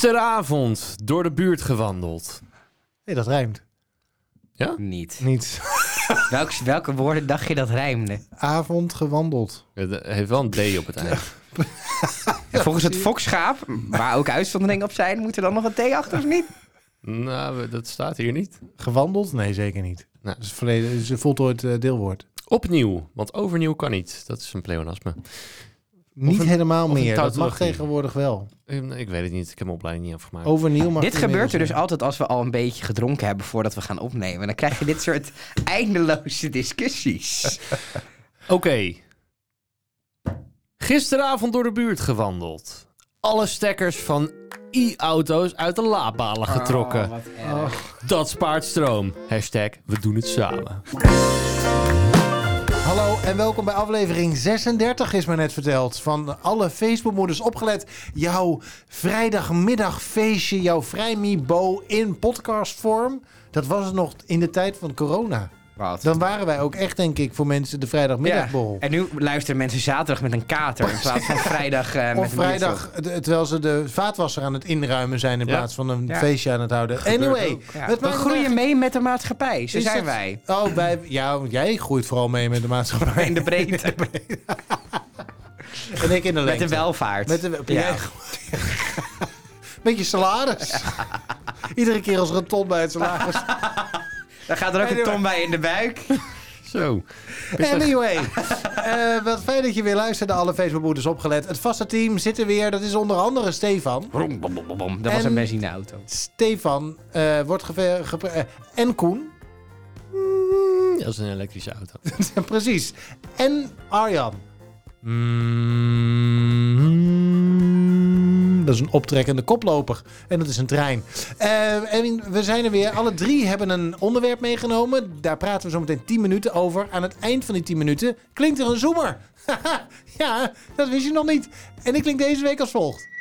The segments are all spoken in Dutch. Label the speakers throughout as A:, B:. A: Gisteravond door de buurt gewandeld.
B: Nee, dat rijmt.
C: Niet.
B: Niet.
C: Welke, welke woorden dacht je dat rijmde?
B: Avond gewandeld.
A: Het heeft wel een D op het eind.
C: En volgens het fokschaap, waar ook uitzonderingen op zijn, moet er dan nog een T achter of niet?
A: nou, we- dat staat hier niet.
B: Gewandeld? Nee, zeker niet.
A: Nee.
B: Dat is verleden, dat is een voltooid eh, deelwoord.
A: Opnieuw, want overnieuw kan niet. Dat is een pleonasme.
B: Niet
A: een-
B: helemaal
A: of een
B: meer. Dat mag
A: tautologie.
B: tegenwoordig wel.
A: Eh, nee, Ik weet het niet, ik heb mijn opleiding niet afgemaakt.
B: Overnieuw mag
C: dit
B: het
C: gebeurt er
B: inmiddels
C: dus altijd als we al een beetje gedronken hebben voordat we gaan opnemen. Dan krijg je dit soort eindeloze discussies.
A: Oké. Gisteravond door de buurt gewandeld. Alle stekkers van i-auto's uit de laadpalen
B: Ah.
A: getrokken.
C: Oh, wat erg.
A: Dat spaart stroom. Hashtag, we doen het samen.
B: niet. Hallo en welkom bij aflevering 36 is me net verteld. Van alle Facebookmoeders opgelet. Jouw vrijdagmiddagfeestje, jouw vrijmibo in podcastvorm. Dat was het nog in de tijd van corona.
C: Wat?
B: Dan waren wij ook echt denk ik voor mensen de vrijdagmiddagborrel.
C: En nu luisteren mensen zaterdag met een kater in plaats van vrijdag eh, met
B: Of
C: een
B: vrijdag, de- terwijl ze de vaatwasser aan het inruimen zijn in
A: Ja.
B: plaats van een
C: Ja.
B: feestje aan het houden. Anyway,
C: biertje. Ja,
B: het
C: we
B: maakt
C: groeien
B: niet
C: mee met de maatschappij, zo
B: Is
C: zijn
B: dat-
C: wij.
B: uit. Oh, wij, ja, want jij groeit vooral mee met de maatschappij.
C: In de breedte,
B: En ik in de
C: met
B: lengte.
C: de welvaart.
B: Met de,
C: Ja.
B: jij- Met je salaris. Iedere keer als er een ton bij het salaris.
C: Dan gaat er ook een ton bij in de buik.
A: Zo.
B: Anyway, eh, wat fijn dat je weer luisterde. Alle Facebookmoeders opgelet. Het vaste team zit er weer. Dat is onder andere Stefan.
C: Brom, bom, bom, bom, bom. Dat was
B: En-
C: een benzineauto.
B: Stefan eh, wordt geve- gepre- eh, en Koen.
A: Mm, Dat is een elektrische auto.
B: Ja, Precies. En Arjan.
A: Mm-hmm.
B: Dat is een optrekkende koploper. En dat is een trein. Eh, en we zijn er weer. Alle drie hebben een onderwerp meegenomen. Daar praten we zo meteen 10 minuten over. Aan het eind van die 10 minuten klinkt er een zoemer. Haha, ja, dat wist je nog niet. En die klinkt deze week als volgt.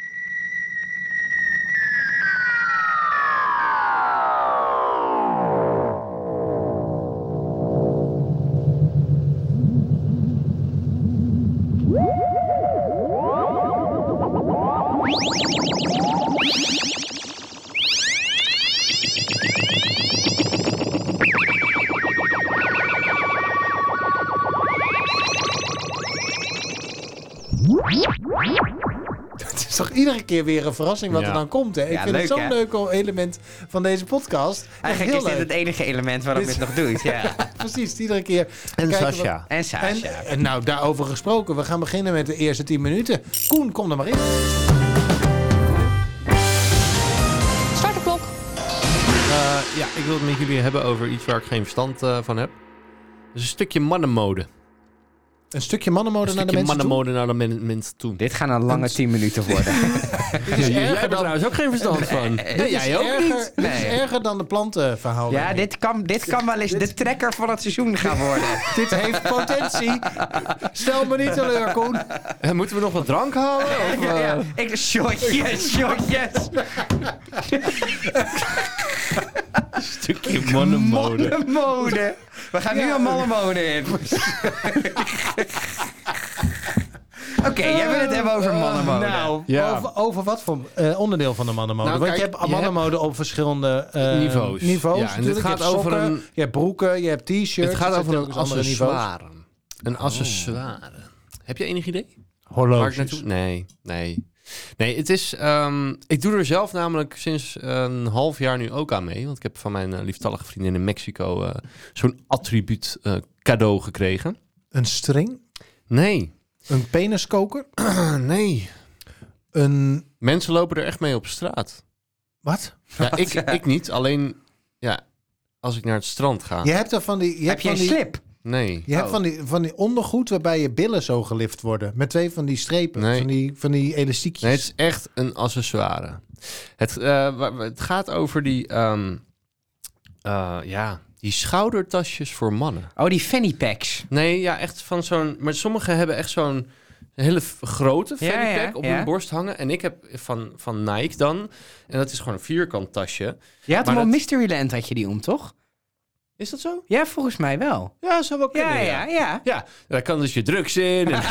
B: Het is toch iedere keer weer een verrassing wat
A: Ja.
B: er dan komt. Hè? Ik
C: Ja,
B: vind het
C: leuk,
B: zo'n
C: hè?
B: leuk element van deze podcast. Echt
C: Eigenlijk
B: heel
C: is dit
B: leuk.
C: het enige element waarom je
B: Dit-
C: het nog doet. Ja.
B: Precies, iedere keer.
A: En
B: kijken wat-
A: Sascha.
C: En
B: En,
C: Sasha.
B: en nou, daarover gesproken. We gaan beginnen met de eerste 10 minuten. Koen, kom er maar in.
D: Start de klok.
A: Eh, ja, ik wil het met jullie hebben over iets waar ik geen verstand eh, van heb. Dat is een stukje mannenmode.
B: Een stukje
A: Een
B: mannenmode naar de
A: stukje
B: mensen toe.
A: mannenmode naar de men- mensen toe.
C: Dit gaan een lange 10 minuten worden.
A: Dit is
B: erger
A: jij hebt er
B: dan-
A: trouwens ook geen verstand van. Nee,
B: Dit is
A: jij ook
B: erger,
A: niet.
B: Dit is
C: Nee.
B: erger dan de plantenverhaal.
C: Ja, dit kan, dit kan wel eens de trekker van het seizoen gaan worden.
B: dit heeft potentie. Stel me niet teleur, Koen.
A: Eh, moeten we nog wat drank halen? Of,
C: Ja, ja.
A: eh,
C: Ik, shotjes, shotjes.
A: Stukje mannenmode.
C: Mannenmode. We gaan nu
B: Ja.
C: aan mannenmode in. Oké, jij wil het hebben over mannenmode.
B: Nou,
A: Ja.
B: over, over wat voor eh, onderdeel van de mannenmode?
A: Nou,
B: Want
A: kijk,
B: je
A: je
B: hebt mannenmode op verschillende eh,
A: Niveaus.
B: niveaus
A: Ja, en dit
B: natuurlijk.
A: gaat
B: je hebt
A: over
B: sokken,
A: een-
B: je hebt broeken, je hebt t-shirts.
A: Het gaat
B: er
A: over
B: zijn
A: een
B: telkens andere niveaus.
A: accessoire. Een accessoire. Heb je enig idee? Waar ik
B: Horloges.
A: naartoe? Nee, nee. Nee, het is... ehm, ik doe er zelf namelijk sinds een half jaar nu ook aan mee. Want ik heb van mijn eh, lieftallige vriendin in Mexico eh, zo'n attribuut eh, cadeau gekregen.
B: Een string,
A: Nee.
B: een peniskoker,
A: nee.
B: een...
A: Mensen lopen er echt mee op straat.
B: Wat?
A: Ja, ik, ik niet. Alleen ja, als ik naar het strand ga.
B: Je hebt er van die. Je
C: Heb
B: hebt
C: je een
B: van die,
C: slip?
A: Nee.
B: Je hebt
C: Oh.
B: van die, van die ondergoed waarbij je billen zo gelift worden. Met twee van die strepen.
A: Nee.
B: Van, die, van die elastiekjes.
A: Nee, het is echt een accessoire. Het, eh, wa- wa- het gaat over die, ehm, eh, ja, die schoudertasjes voor mannen.
C: Oh, die fanny packs.
A: Nee, ja, echt van zo'n... Maar sommigen hebben echt zo'n hele f- grote
C: Ja,
A: fanny
C: ja,
A: pack op
C: ja.
A: hun borst hangen. En ik heb van, van Nike dan. En dat is gewoon een vierkant tasje.
C: Je had
A: Maar
C: hem al
A: dat-
C: Mysteryland, had je die om, toch?
A: Is dat zo?
C: Ja, volgens mij wel.
A: Ja, zou wel kunnen.
C: Ja, ja, ja.
A: Ja, daar kan dus je drugs in. En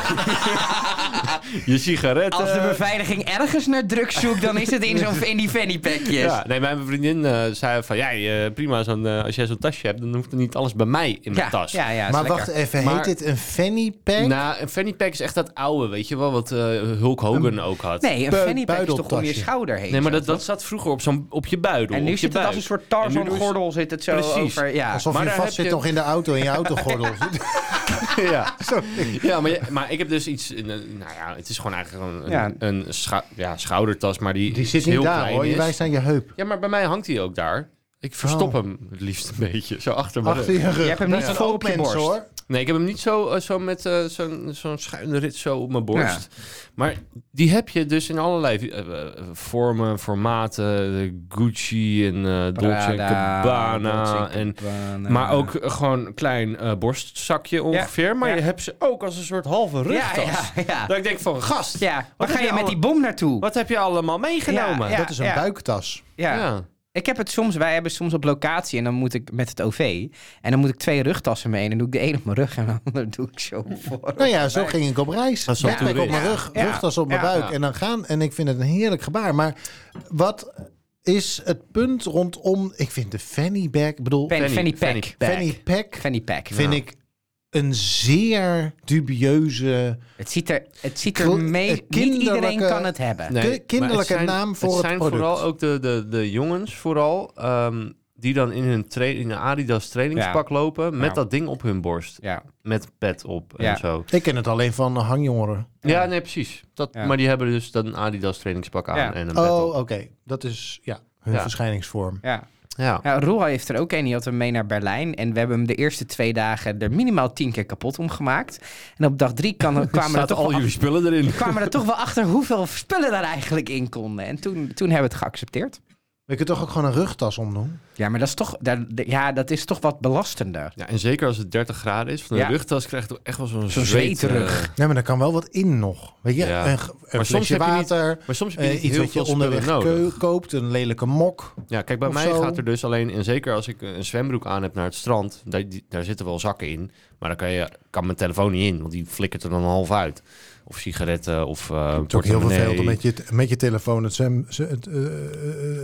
A: je sigaretten.
C: Als de beveiliging ergens naar drugs zoekt, dan is het in, zo'n, in die fanny packjes.
A: Ja, nee, mijn vriendin eh, zei van, ja, je- prima, zo'n, eh, als jij zo'n tasje hebt, dan hoeft er niet alles bij mij in mijn
C: ja,
A: tas.
C: Ja, ja, is
B: maar
C: lekker.
B: wacht even,
A: Maar-
B: heet dit een fanny pack?
A: Nou, een fanny pack is echt dat oude, weet je wel, wat eh, Hulk Hogan ook had.
C: Nee, een
B: Bui-
C: fanny pack is toch om je
B: eh, buideltasje.
C: schouder heen.
A: Nee, maar
C: zo,
A: dat, dat
C: toch?
A: zat vroeger op zo'n op je buidel.
C: En nu
A: op je
C: zit het als
A: buik.
C: een soort
A: En nu doen ze-
C: Tarzan-gordel zit het zo
A: Precies.
C: over. Ja.
B: Alsof
A: maar
B: je
A: daar
B: vast
A: heb
B: zit
A: je-
B: nog in de auto, in je autogordel.
A: ja.
B: Sorry.
A: Ja, maar, je- maar ik heb dus iets. in een- Nou ja, het is gewoon eigenlijk gewoon een,
C: Ja.
A: een scha- ja, schoudertas, maar die,
B: Die zit
A: heel
B: niet daar
A: klein
B: hoor, je
A: is.
B: wijst aan je heup.
A: Ja, maar bij mij hangt hij ook daar. Ik verstop hem het liefst een beetje. Zo achter me.
B: Achter je rug.
C: Je hebt hem
B: Dat
C: niet
B: is
C: van
B: een
C: op je
B: oogmens,
C: borst.
B: hoor.
A: Nee, ik heb hem niet zo, eh, zo met eh, zo'n zo'n schuine rit zo op mijn borst. Maar die heb je dus in allerlei eh, eh, vormen, formaten. eh, Gucci en eh Dolce en
C: Prada,
A: Gabbana.
C: Dolce
A: En,
C: Gabbana.
A: maar ook eh, gewoon een klein eh, borstzakje ongeveer. Maar
C: ja.
A: je hebt ze ook als een soort halve
C: Ja,
A: rugtas.
C: ja, ja.
A: Dat ik denk van, gast,
C: ja. Waar
A: Wat
C: ga
A: heb
C: je
A: je
C: met
A: alle-
C: die bom naartoe?
A: wat heb je allemaal meegenomen?
C: Ja,
B: Dat is een
C: ja.
B: buiktas.
C: Ja.
A: Ja.
C: Ik heb het soms, wij hebben soms op locatie en dan moet ik met het OV. En dan moet ik twee rugtassen mee. En dan doe ik de een op mijn rug en de ander doe ik zo voor.
B: Nou ja, zo ging ik op reis.
A: Als zo'n
B: Backpack op
A: toerist.
B: mijn rug,
C: Ja.
B: rugtas op mijn
C: Ja.
B: buik en dan gaan. En ik vind het een heerlijk gebaar. Maar wat is het punt rondom... Ik vind de fanny bag, ik bedoel,
C: Fanny,
A: Fanny-
C: fanny,
A: fanny
C: pack.
B: fanny pack
C: Fanny pack.
B: vind
C: Ja.
B: ik een zeer dubieuze...
C: Het ziet er, het ziet er
B: Kl-
C: mee.
B: eh,
C: Niet iedereen
B: kinderlijke-
C: kan het hebben.
A: eh, Nee,
B: Ki-
A: maar
B: kinderlijke
A: het
B: naam voor
A: het
B: het
A: zijn
B: product.
A: vooral ook de, de, de jongens vooral, ehm, die dan in hun tra- in een Adidas trainingspak lopen met
C: Ja.
A: dat ding op hun borst.
C: Ja.
A: Met pet op en
C: Ja.
A: zo.
B: Ik ken het alleen van hangjongeren.
A: Ja, nee, precies. Dat,
C: Ja.
A: Maar die hebben dus dan een Adidas trainingspak aan
C: Ja.
A: en een pet
B: Oh,
A: op.
B: oké. Dat is ja, hun
A: Ja.
B: verschijningsvorm.
C: Ja.
A: Ja.
C: ja, Roel heeft er ook een, die had hem mee naar Berlijn. En we hebben hem de eerste twee dagen er minimaal tien keer kapot om gemaakt. En op dag drie kan, kwamen, er
A: Staat
C: toch wel
A: al jullie
C: af-
A: spullen erin.
C: kwamen er toch wel achter hoeveel spullen daar eigenlijk in konden. En toen, toen hebben we het geaccepteerd.
B: We kunnen toch ook gewoon een rugtas omdoen?
C: Ja, maar dat is toch, daar- ja, dat is toch wat belastender.
A: Ja, en zeker als het 30 graden is, van de
C: Ja.
A: rugtas krijg je toch echt wel zo'n
C: Zo'n
A: zweet,
C: zweterug.
A: eh,
B: Nee, maar daar kan wel wat in nog. Weet je,
A: Ja.
B: een, g- een
A: soms
B: flesje
A: heb je niet-
B: water...
A: maar soms heb je
B: eh,
A: niet
B: iets
A: heel
B: wat
A: veel
B: je
A: spullen
B: onderweg
A: nodig.
B: keu- koopt, een lelijke mok.
A: Ja, kijk, bij
B: Of
A: mij
B: zo.
A: gaat er dus alleen, en zeker als ik eh, een zwembroek aan heb naar het strand, daar, die- daar zitten wel zakken in, maar dan kan, je, kan mijn telefoon niet in, want die flikkert er dan half uit. Of sigaretten, of eh
B: Het is ook heel
A: portemonnee.
B: vervelend om met je, met je telefoon het, zwem- z- het, eh, eh,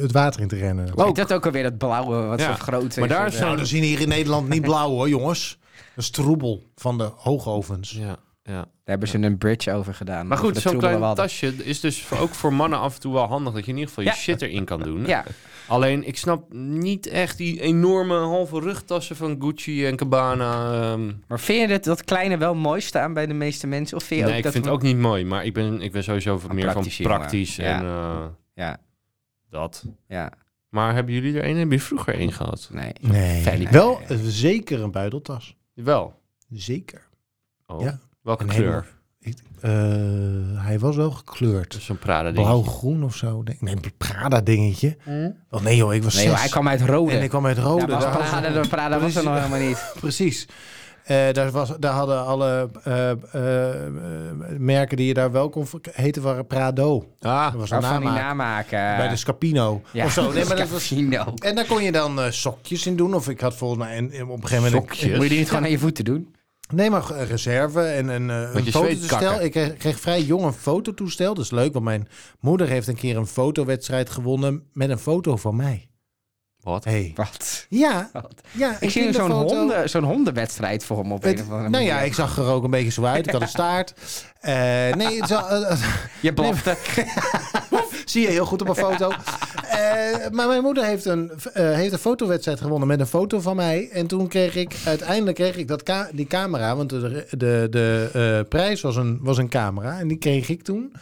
B: het water in te rennen.
C: Ook. dat ook alweer dat blauwe, wat
A: Ja.
C: zo groot is.
A: Maar daar
C: Ja.
A: zijn-
B: Nou, we zien hier in Nederland niet blauw hoor, jongens. Dat is troebel van de hoogovens.
A: Ja, ja.
C: Daar hebben ze een bridge over gedaan.
A: Maar
C: over
A: goed,
C: de
A: zo'n
C: troebele
A: klein
C: wadden.
A: tasje is dus voor- ook voor mannen af en toe wel handig dat je in ieder geval je
C: Ja.
A: shit erin kan doen.
C: Ja,
A: Alleen, ik snap niet echt die enorme halve rugtassen van Gucci en Cabana. ehm.
C: maar vind je dat, dat kleine wel mooi staan bij de meeste mensen? Of vind je
A: Nee,
C: ook
A: ik
C: dat
A: vind het
C: we-
A: ook niet mooi, maar ik ben, ik ben sowieso
C: Een
A: meer van
C: praktische jongen.
A: praktisch
C: Ja.
A: en eh,
C: Ja,
A: dat.
C: ja,
A: Maar hebben jullie er een? Hebben jullie vroeger een gehad?
C: nee.
B: Nee.
C: Fanny pack.
B: Wel eh, zeker een buideltas.
A: Wel.
B: Zeker.
A: Oh.
B: Ja.
A: Welke
B: Een
A: kleur?
B: hele- eh, hij was wel gekleurd.
A: Zo'n Prada ding.
B: Blauw-groen of zo. denk ik. Nee, een Prada-dingetje.
C: Hm?
B: Oh nee joh, ik was
C: Nee,
B: zes.
C: joh, hij kwam uit Rode.
B: En ik kwam uit Rode.
C: ja, maar
B: Daar hadden-
C: Prada, Prada was er nog helemaal niet.
B: Precies. Eh, daar, was, daar hadden alle eh, eh, eh, merken die je daar wel kon ver- heten waren Prado.
A: Ah,
B: Dat was een
C: Maar van die
B: namaak.
C: namaken.
B: bij de Scapino.
C: ja,
B: of zo. Nee, maar dat was,
C: Casino.
B: en daar kon je dan eh, sokjes in doen. Of ik had volgens mij een, op een gegeven moment...
A: Sokjes?
C: Moet je die niet gewoon aan je voeten doen?
B: Nee, maar eh, reserve en, en eh
A: je
B: een
A: zweet
B: fototoestel.
A: kakken.
B: Ik kreeg, kreeg vrij jong een fototoestel. Dat is leuk, want mijn moeder heeft een keer een fotowedstrijd gewonnen met een foto van mij.
A: wat?
B: Hey.
C: Wat?
B: Ja,
C: Wat?
B: ja.
C: Ik zie nu zo'n
B: kinderfoto.
C: honden, zo'n hondenwedstrijd voor hem op
B: Het-
C: een of andere
B: nou ja,
C: manier.
B: ik zag er ook een beetje zo uit. Ik had een staart. Eh, nee, het is wel- eh, eh,
C: Je blafte.
B: zie je heel goed op een foto. Eh, maar mijn moeder heeft een, eh, heeft een fotowedstrijd gewonnen met een foto van mij. En toen kreeg ik, uiteindelijk kreeg ik dat ka- die camera. Want de, de, de eh, prijs was een, was een camera. En die kreeg ik toen.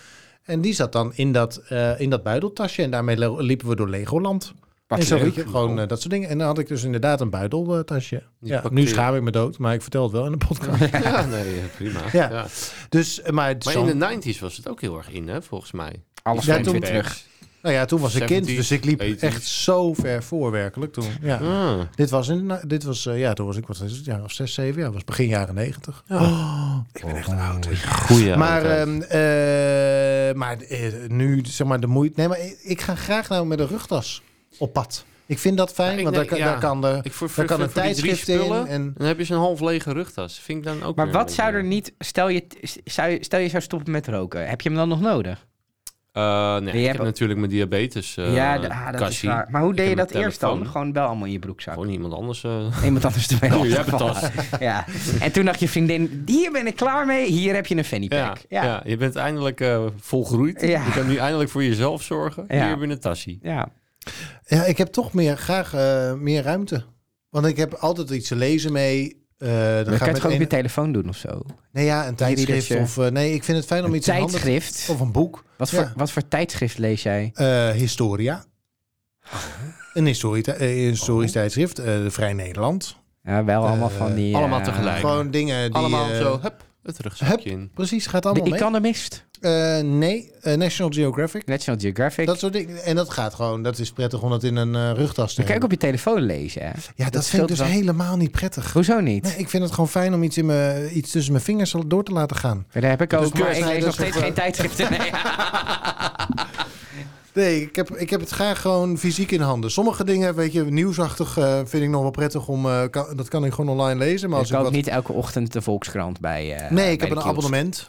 B: En die zat dan in dat, eh, in dat buideltasje. En daarmee lo- liepen we door Legoland.
C: Wat
B: en zo
C: leuk.
B: weet je, gewoon eh, dat soort dingen. En dan had ik dus inderdaad een buideltasje.
A: Die
B: Ja,
A: pak-
B: nu schaam ik me dood, maar ik vertel het wel in de podcast.
A: Ja, nee, eh, prima.
B: Ja.
A: Ja.
B: Dus, eh, maar,
A: Maar
B: zo'n-
A: in de 90s was het ook heel erg in, hè, volgens mij.
C: Alles
B: Ja,
C: komt
B: toen-
C: weer terug.
B: Nou ja, toen was ik kind,
A: 70s,
B: dus ik liep
A: 80s.
B: echt zo ver voor werkelijk toen. Ja.
A: Ah.
B: Dit was, in, nou, dit was eh, ja, toen was ik, wat is het, jaar of zes, zeven jaar, was begin jaren negentig. Oh, ik ben echt een oud.
A: Goeie
B: maar
A: oudheid.
B: ehm, eh, maar eh, nu, zeg maar, de moeite. Nee, maar ik, ik ga graag nou met een rugtas op pad. Ik vind dat fijn,
A: Ja, ik-
B: want daar,
A: nee,
B: kan-
A: ja.
B: daar kan, de,
A: Ik voor,
B: daar eh, kan een
A: voor die drie
B: tijdschrift in.
A: spullen,
B: En,
A: Dan heb je zo'n half lege rugtas. Vind ik dan ook
C: Maar
A: weer
C: wat
A: een
C: zou er
A: beetje-
C: niet... Stel je, zou je, stel je zou stoppen met roken. Heb je hem dan nog nodig?
A: Eh, nee, ik
C: hebt
A: heb
C: ook-
A: natuurlijk mijn diabetes eh
C: ja, d- ah, dat
A: kassie.
C: is waar. Maar hoe deed je
A: heb
C: dat
A: mijn
C: eerst dan?
A: telefoon.
C: Gewoon wel allemaal in je broekzak.
A: Gewoon iemand anders. eh
C: Iemand anders erbij
A: Oh, jij hebt een
C: afgevallen. Ja. En toen dacht je vriendin, hier ben ik klaar mee. Hier heb je een fanny
A: ja,
C: pack.
A: ja.
C: Ja. ja.
A: je bent eindelijk eh, volgroeid.
C: Ja.
A: Je kan nu eindelijk voor jezelf zorgen.
C: Ja.
A: Hier heb je een tassie.
B: ja, ik heb toch meer, graag eh, meer ruimte. Want ik heb altijd iets te lezen mee. eh dan ga
C: Dan kan je
B: ik
C: het
B: met
C: gewoon op je
B: een,
C: telefoon doen of zo.
B: nee, ja, een tijdschrift.
C: je-
B: Of, eh, nee, ik vind het fijn om
C: Een
B: iets in handen te-
C: tijdschrift.
B: Of een boek.
C: Wat voor,
B: ja.
C: wat voor tijdschrift lees jij?
B: Eh, historia. Een historie, eh,
C: Oh.
B: historisch tijdschrift. eh, de Vrij Nederland.
C: Ja, wel
B: Eh,
C: allemaal van die... eh,
A: allemaal tegelijk.
B: Gewoon dingen die...
A: Allemaal
B: eh,
A: zo, hup, het
B: hup.
A: rugzakje in.
B: Precies, gaat
C: De
B: allemaal mee.
C: Economist.
B: Eh, nee, eh, National Geographic.
C: National Geographic.
B: Dat soort dingen. En dat gaat gewoon. Dat is prettig om dat in een eh, rugtas te
C: Dan kan je ook
B: hebben.
C: op je telefoon lezen. hè.
B: Ja, dat,
C: dat
B: vind ik
C: scheelt
B: dus
C: wel.
B: helemaal niet prettig.
C: Hoezo niet?
B: Nee, ik vind het gewoon fijn om iets, in mijn, iets tussen mijn vingers door te laten gaan.
C: Maar Daar heb ik ook,
B: Dus
C: maar ik
B: keursnijden
C: lees nog
B: is nog
C: steeds
B: wel-
C: geen tijdschriften. Nee, ja.
B: Nee, ik heb, ik heb het graag gewoon fysiek in handen. Sommige dingen, weet je, nieuwsachtig eh, vind ik nog wel prettig om... eh, kan- dat kan ik gewoon online lezen. Maar
C: Ik
B: als ik,
C: koop
B: wat...
C: niet elke ochtend de Volkskrant bij eh,
B: nee, ik heb
C: bij de
B: een
C: kiosk.
B: abonnement.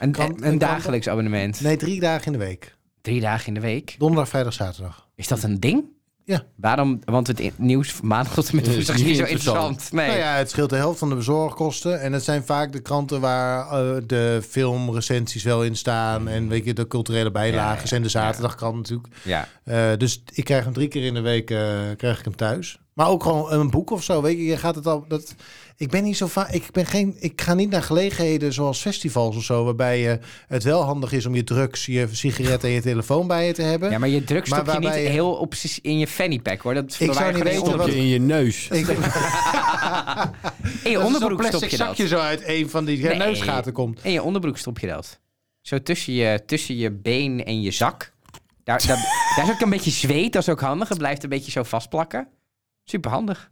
C: Een,
B: Krant-
C: een
B: een krant-
C: dagelijks abonnement.
B: Nee, drie dagen in de week.
C: Drie dagen in de week.
B: Donderdag, vrijdag, zaterdag.
C: Is dat een ding?
B: Ja.
C: Waarom? Want het in- nieuws van maandag tot en met
A: Is
C: woensdag is
A: niet
C: niet zo
A: interessant.
C: interessant. Nee.
B: Nou ja, het scheelt de helft van de bezorgkosten. En het zijn vaak de kranten waar eh, de filmrecensies wel in staan. En weet je, de culturele bijlagen
C: Ja, ja,
B: en de zaterdagkrant natuurlijk.
C: Ja.
B: Eh, dus ik krijg hem drie keer in de week eh, krijg ik hem thuis. Maar ook gewoon een boek of zo. Weet je, je gaat het al. Dat, ik ben niet zo vaak. Ik, ben geen, ik ga niet naar gelegenheden zoals festivals of zo. Waarbij je het wel handig is om je drugs, je sigaret en je telefoon bij je te hebben.
C: Ja, maar je drukt
B: Maar
C: stop je niet
B: waarbij-
C: heel obsessief in je fanny pack hoor. Dat
B: zou
C: waren
B: niet
C: geen
B: weten
A: Stop
C: onderbroek.
A: je in je neus.
B: Ik,
C: In je
B: dat is zo'n
C: onderbroek stop
B: plastic
C: je
B: zakje
C: dat.
B: zo uit een van die
C: Nee.
B: neusgaten komt.
C: In je onderbroek stop je dat. Zo tussen je, tussen je been en je zak. Daar, daar, daar is ook een beetje zweet, dat is ook handig. Het blijft een beetje zo vastplakken. Superhandig.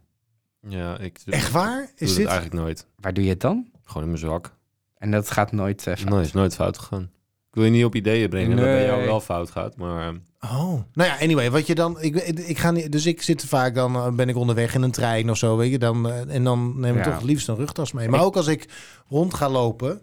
A: Ja, ik doe,
B: Echt waar?
A: doe
B: Is
A: dat
B: dit?
A: eigenlijk nooit.
C: Waar doe je het dan?
A: Gewoon in mijn zak.
C: En dat gaat nooit eh, fout.
A: Nee, is nooit fout gegaan. Ik wil je niet op ideeën brengen dat bij jou
C: Nee.
A: wel fout gaat, maar... ehm,
B: Oh. Nou ja, anyway, wat je dan. Ik, ik ga niet, dus ik zit vaak dan. eh, Ben ik onderweg in een trein of zo, weet je. Dan, eh, en dan neem ik
C: Ja.
B: toch het liefst een rugtas mee. Maar
C: Ik-
B: ook als ik rond ga lopen.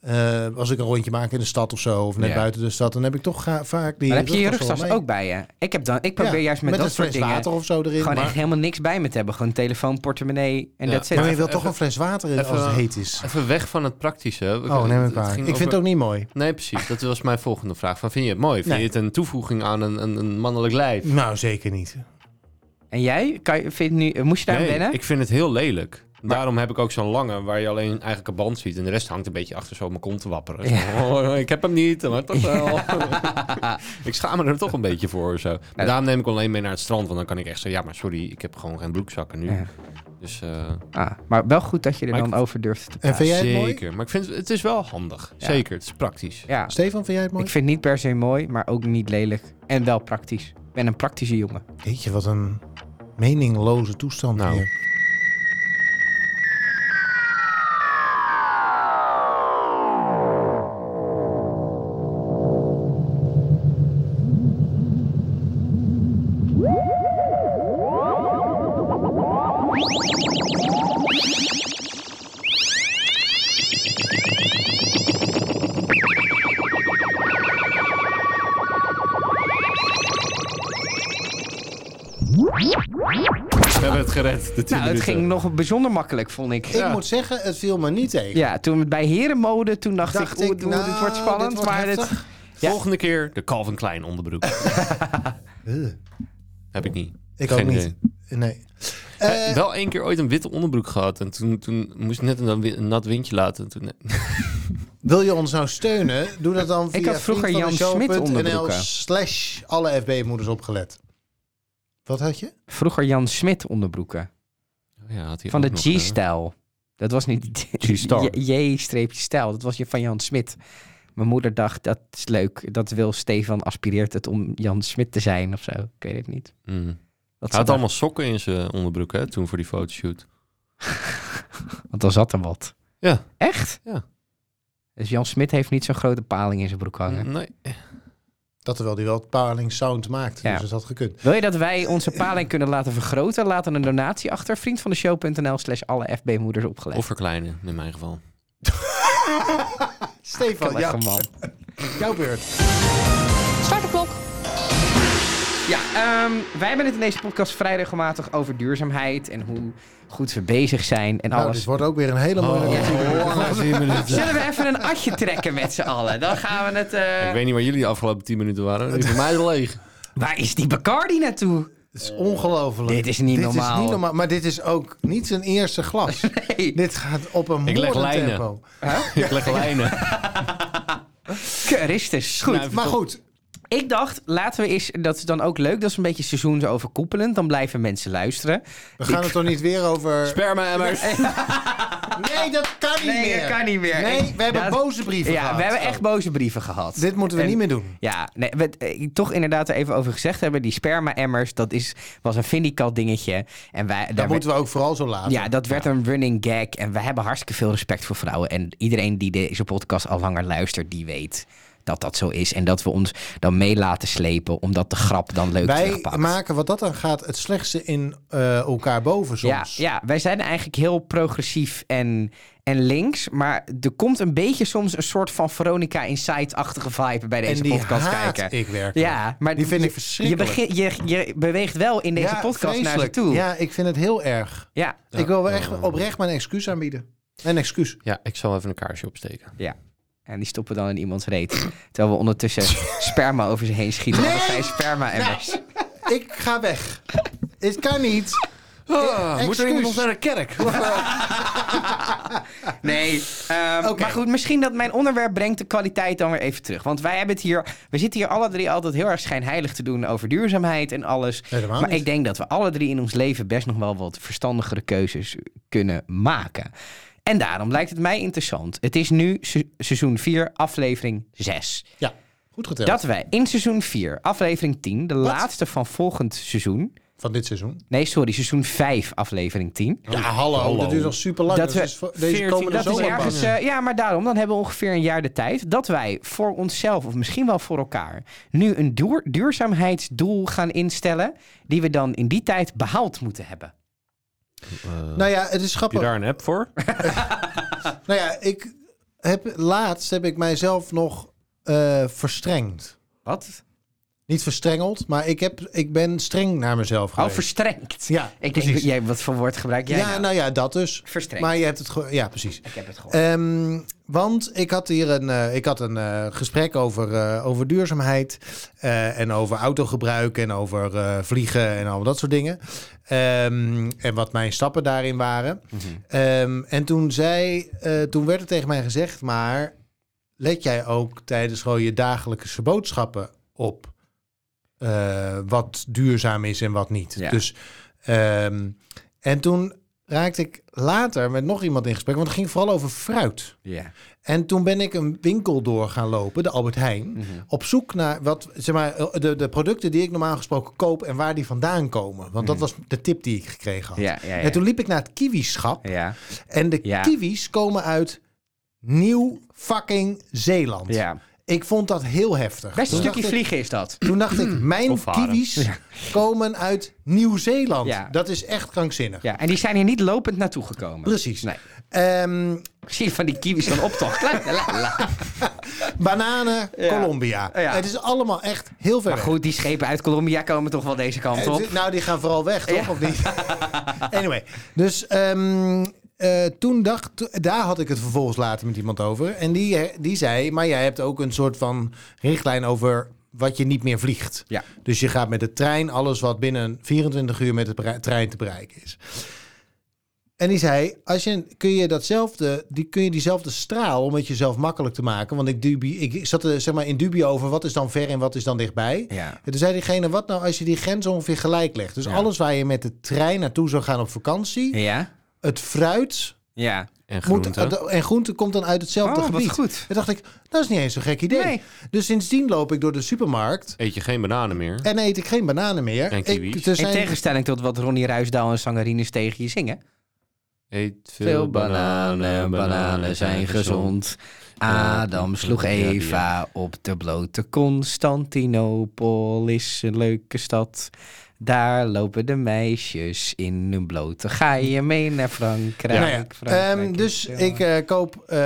B: eh, als ik een rondje maak in de stad of zo. Of net
C: Ja.
B: buiten de stad. Dan heb ik toch ga- vaak die.
C: Maar heb je je
B: wel
C: rugtas
B: mee.
C: ook bij je? Ik, heb dan, ik probeer
B: Ja,
C: juist met,
B: met
C: dat
B: een
C: soort
B: fles
C: dingen
B: water of zo erin.
C: gewoon
B: maar,
C: echt helemaal niks bij me te hebben. Gewoon telefoon, portemonnee en
A: Ja.
C: dat
B: maar je
C: zit.
B: wilt toch
A: even-
B: een fles water in
A: even-
B: als het heet is.
A: Even weg van het praktische. hè. We-
B: Oh,
A: het-
B: neem het
A: het
B: waar.
A: ging
B: Ik vind
A: over-
B: het ook niet mooi.
A: Nee, precies. Dat was mijn volgende vraag. Van, vind je het mooi? Vind
B: Nee.
A: je het een toevoeging aan een, een, een mannelijk lijf?
B: Nou, zeker niet.
C: En jij? Kan, je- vind je nu, moest je daar aan
A: Nee,
C: wennen?
A: ik vind het heel lelijk. Daarom heb ik ook zo'n lange waar je alleen eigenlijk een band ziet. En de rest hangt een beetje achter zo op mijn kont te wapperen. Zo, oh, ik heb hem niet, maar toch wel. ik schaam me er toch een beetje voor. Zo. Maar
C: Nee.
A: daarom neem ik alleen mee naar het strand. Want dan kan ik echt zeggen, ja maar sorry, ik heb gewoon geen broekzakken nu.
C: Ja.
A: Dus eh,
C: Ah, maar wel goed dat je er
A: Maar
C: dan
A: ik-
C: over durft te
B: En
C: praten.
B: vind jij het mooi?
A: zeker. Maar ik vind het, het is wel handig.
C: Ja.
A: Zeker, het is praktisch.
C: Ja,
B: Stefan, vind jij het mooi?
C: ik vind het niet per se mooi, maar ook niet lelijk. En wel praktisch. Ik ben een praktische jongen.
B: Weet je wat een meningloze toestand
A: Nou.
B: hier.
A: We hebben het gered, de 10
C: Nou, het
A: minuten.
C: ging nog bijzonder makkelijk, vond ik.
B: Ik moet zeggen, het viel me niet tegen.
C: Ja, toen we bij herenmode, toen dacht,
B: Dacht
C: ik,
B: ik,
C: oeh, oeh, dit
B: nou,
C: wordt
B: dit
C: spannend.
B: wordt
C: maar dit-
B: heftig.
C: Ja.
A: Volgende keer de Calvin Klein onderbroek.
B: Ugh.
A: Heb ik niet.
B: Ik
A: Eh, Geen
B: ook niet.
A: idee.
B: Nee.
A: Eh, wel één keer ooit een witte onderbroek gehad. En toen, toen moest ik net een, wi- een nat windje laten. Toen, eh,
B: Wil je ons nou steunen? Doe dat dan via
C: had vroeger Jan Smit
B: vriendvandeshow.nl
C: onderbroeken.
B: slash alle FB-moeders opgelet. Wat had je?
C: Vroeger Jan Smit onderbroeken.
A: ja, had hij
C: Van de
A: ook nog, eh,
C: G-stijl. Dat was niet
A: G-star.
C: J-stijl. Dat was je van Jan Smit. Mijn moeder dacht, dat is leuk. Dat wil Stefan, aspireert het om Jan Smit te zijn of zo. Ik weet het niet.
A: mm.
C: Dat
A: Hij had
C: zat er,
A: allemaal sokken in zijn onderbroek hè, toen voor die fotoshoot.
C: want dan zat er wat.
A: Ja.
C: Echt?
A: Ja.
C: Oh, Dus Jan Smit heeft niet zo'n grote paling in zijn broek hangen.
A: Nee.
B: Dat terwijl die wel paling sound maakt.
C: Ja.
B: Dus dat had gekund.
C: Wil je dat wij onze paling kunnen laten vergroten? Laat dan een donatie achter. Vriendvandeshow.nl slash alle FB-moeders opgelegd.
A: Of verkleinen, in mijn geval.
B: Stefan,
C: Lachen,
B: ja,
C: man.
B: jouw beurt.
D: Start de klok.
C: Ja, ehm, wij hebben het in deze podcast vrij regelmatig over duurzaamheid en hoe goed we bezig zijn en
B: Nou,
C: alles. Oh,
B: dit wordt ook weer een hele moeilijke.
C: Zullen we even een atje trekken met z'n allen? Dan gaan we het... eh,
A: Ik weet niet waar jullie de afgelopen 10 minuten waren. Die voor mij is leeg.
C: Waar is die Bacardi naartoe?
B: Het is ongelooflijk.
C: Dit is niet normaal.
B: niet normaal. Maar dit is ook niet zijn eerste glas.
C: Hey,
B: Dit gaat op een
A: Ik leg
B: moordend
A: lijnen.
B: tempo.
A: Ik leg lijnen.
C: Christus.
A: Nou,
B: Goed,
A: even
B: maar
A: toch-
B: goed. Nou.
C: Ik dacht, laten we eens... Dat is dan ook leuk. Dat is een beetje seizoensoverkoepelend. Dan blijven mensen luisteren.
B: We gaan het toch niet weer over...
A: Sperma emmers.
B: Nee, dat kan niet
C: Nee,
B: meer.
C: dat kan niet meer.
B: Nee,
C: Ik-
B: we hebben
C: dat-
B: boze brieven
C: Ja,
B: gehad.
C: we hebben echt boze brieven gehad.
B: Dit moeten we
C: En-
B: niet meer doen.
C: Ja, nee, we, eh, toch inderdaad er even over gezegd hebben. Die sperma-emmers, dat is, was een vindicat dingetje. En wij, daar
B: Dat
C: werd-
B: moeten we ook vooral zo laten.
C: ja, dat werd een running gag. En we hebben hartstikke veel respect voor vrouwen. En iedereen die deze podcast al langer luistert, die weet dat dat zo is. En dat we ons dan mee laten slepen, omdat de grap dan leuk
B: Wij
C: terugpakt.
B: maken wat dat dan gaat het slechtste in eh, elkaar boven
C: ja,
B: soms.
C: ja, wij zijn eigenlijk heel progressief en, en links. Maar er komt een beetje soms een soort van Veronica Insight-achtige vibe bij deze
B: en die
C: podcast
B: haat
C: kijken.
B: ik werkelijk.
C: Ja, maar
B: Die vind ik
C: je-
B: verschrikkelijk.
C: Je, begin- je, je beweegt wel in deze
B: Ja,
C: podcast naar ze
B: vreselijk.
C: toe. Ja.
B: Ja, ik vind het heel erg.
C: Ja.
B: Ik wil wel echt oprecht mijn excuus aanbieden. Een excuus.
A: Ja, ik zal even een kaarsje opsteken.
C: En die stoppen dan in iemands reet. Terwijl we ondertussen sperma over ze heen schieten. want Dat
B: Nee!
C: zijn sperma-emmers.
B: Ik ga weg. Het kan niet. Eh,
A: Ah, moet er iemand
B: excuus.
A: naar de kerk?
C: Nee. ehm,
B: Oké.
C: Maar goed, misschien dat mijn onderwerp brengt de kwaliteit dan weer even terug. Want wij hebben het hier... We zitten hier alle drie altijd heel erg schijnheilig te doen over duurzaamheid en alles.
B: Helemaal
C: maar
B: niet.
C: ik denk dat we alle drie in ons leven best nog wel wat verstandigere keuzes kunnen maken. En daarom lijkt het mij interessant. Het is nu se- seizoen 4, aflevering 6.
B: Ja, goed geteld.
C: Dat wij in seizoen 4, aflevering 10, de laatste van volgend seizoen.
B: Van dit seizoen.
C: Nee, sorry, seizoen 5, aflevering 10.
B: Ja, hallo. Dat duurt nog super lang.
C: Dat
B: Dat,
C: we-
B: is dus voor deze
A: 14
B: komende
C: Dat is
B: zomer.
C: ergens,
B: pas.
C: eh, ja, maar daarom, dan hebben we ongeveer een jaar de tijd dat wij voor onszelf, of misschien wel voor elkaar, nu een duur- duurzaamheidsdoel gaan instellen, die we dan in die tijd behaald moeten hebben.
B: Nou ja, het is
A: Heb
B: grappig.
A: je daar een app voor?
B: Nou ja, ik heb, laatst heb ik mijzelf nog eh, verstrengd.
C: Wat?
B: Niet verstrengeld, maar ik, heb, ik ben streng naar mezelf
C: Al
B: geweest.
C: verstrengt.
B: Ja,
C: Oh, ik denk,
B: precies.
C: jij, wat voor woord gebruik jij?
B: ja,
C: nou?
B: nou ja, dat dus.
C: Verstrengt.
B: Maar je hebt het gewoon... Ja, precies.
C: Ik heb het gehoord.
B: Ehm, want ik had hier een, eh, ik had een eh, gesprek over, eh, over duurzaamheid eh, en over autogebruik en over eh, vliegen en al dat soort dingen. Ehm, en wat mijn stappen daarin waren.
C: Mhm.
B: Ehm, en toen, zei, eh, toen werd er tegen mij gezegd, maar let jij ook tijdens gewoon je dagelijkse boodschappen op eh, wat duurzaam is en wat niet.
C: Ja.
B: Dus, ehm, en toen raakte ik later met nog iemand in gesprek, want het ging vooral over fruit.
C: ja.
B: En toen ben ik een winkel door gaan lopen, de Albert Heijn, op zoek naar wat, zeg maar, eh, de, de producten die ik normaal gesproken koop en waar die vandaan komen. Want dat was de tip die ik gekregen had.
C: Mm. Ja, ja, ja.
B: En toen liep ik naar het kiwischap
C: Ja,
B: en de
C: Ja.
B: kiwis komen uit Nieuw fucking Zeeland.
C: ja.
B: Ik vond dat heel heftig.
C: Best een
B: Toen
C: stukje
B: dacht ik-
C: vliegen is dat.
B: Toen dacht ik, mijn
A: Of varen.
B: kiwis komen uit Nieuw-Zeeland.
C: Ja.
B: Dat is echt krankzinnig.
C: Ja, en die zijn hier niet lopend naartoe gekomen.
B: Precies.
C: Nee.
B: Ehm,
C: Zie je van die kiwis dan optocht. La, la, la, la.
B: bananen,
C: Ja.
B: Colombia.
C: Ja.
B: Het is allemaal echt heel ver
C: Maar
B: weg.
C: goed, die schepen uit Colombia komen toch wel deze kant
B: Eh,
C: op.
B: d- Nou, die gaan vooral weg, toch?
C: Ja.
B: Of niet? anyway. Dus ehm, eh, toen dacht... to- daar had ik het vervolgens later met iemand over. En die, eh, die zei... Maar jij hebt ook een soort van richtlijn over wat je niet meer vliegt.
C: Ja.
B: Dus je gaat met de trein alles wat binnen 24 uur met de brei- trein te bereiken is. En die zei, als je, kun, je datzelfde, die, kun je diezelfde straal, om het jezelf makkelijk te maken... want ik, dubi, ik zat er zeg maar, in dubie over wat is dan ver en wat is dan dichtbij.
C: Ja.
B: En toen zei diegene, wat nou als je die grens ongeveer gelijk legt? Dus alles waar je met de trein naartoe zou gaan op vakantie...
C: Ja?
B: het fruit
C: Ja.
A: En
B: moet, eh,
A: groente.
B: en groente komt dan uit hetzelfde
C: Oh, wat
B: gebied.
C: goed.
B: Toen dacht ik, dat is niet eens zo'n gek idee.
C: Nee.
B: Dus sindsdien loop ik door de supermarkt...
A: Eet je geen bananen meer?
B: en eet ik geen bananen meer.
A: En kiwis.
B: Ik, er
C: In
B: zijn-
C: tegenstelling tot wat Ronnie Ruisdaal en Sangarines tegen je zingen.
A: Eet veel, bananen, bananen zijn gezond.
C: Adam sloeg
A: ja, die,
C: Eva op de blote Constantinopel is een leuke stad. Daar lopen de meisjes in hun blote gaaien mee naar Frankrijk.
B: Nou ja,
C: Frankrijk
B: ehm,
C: is
B: dus
C: heel
B: ik eh, koop eh,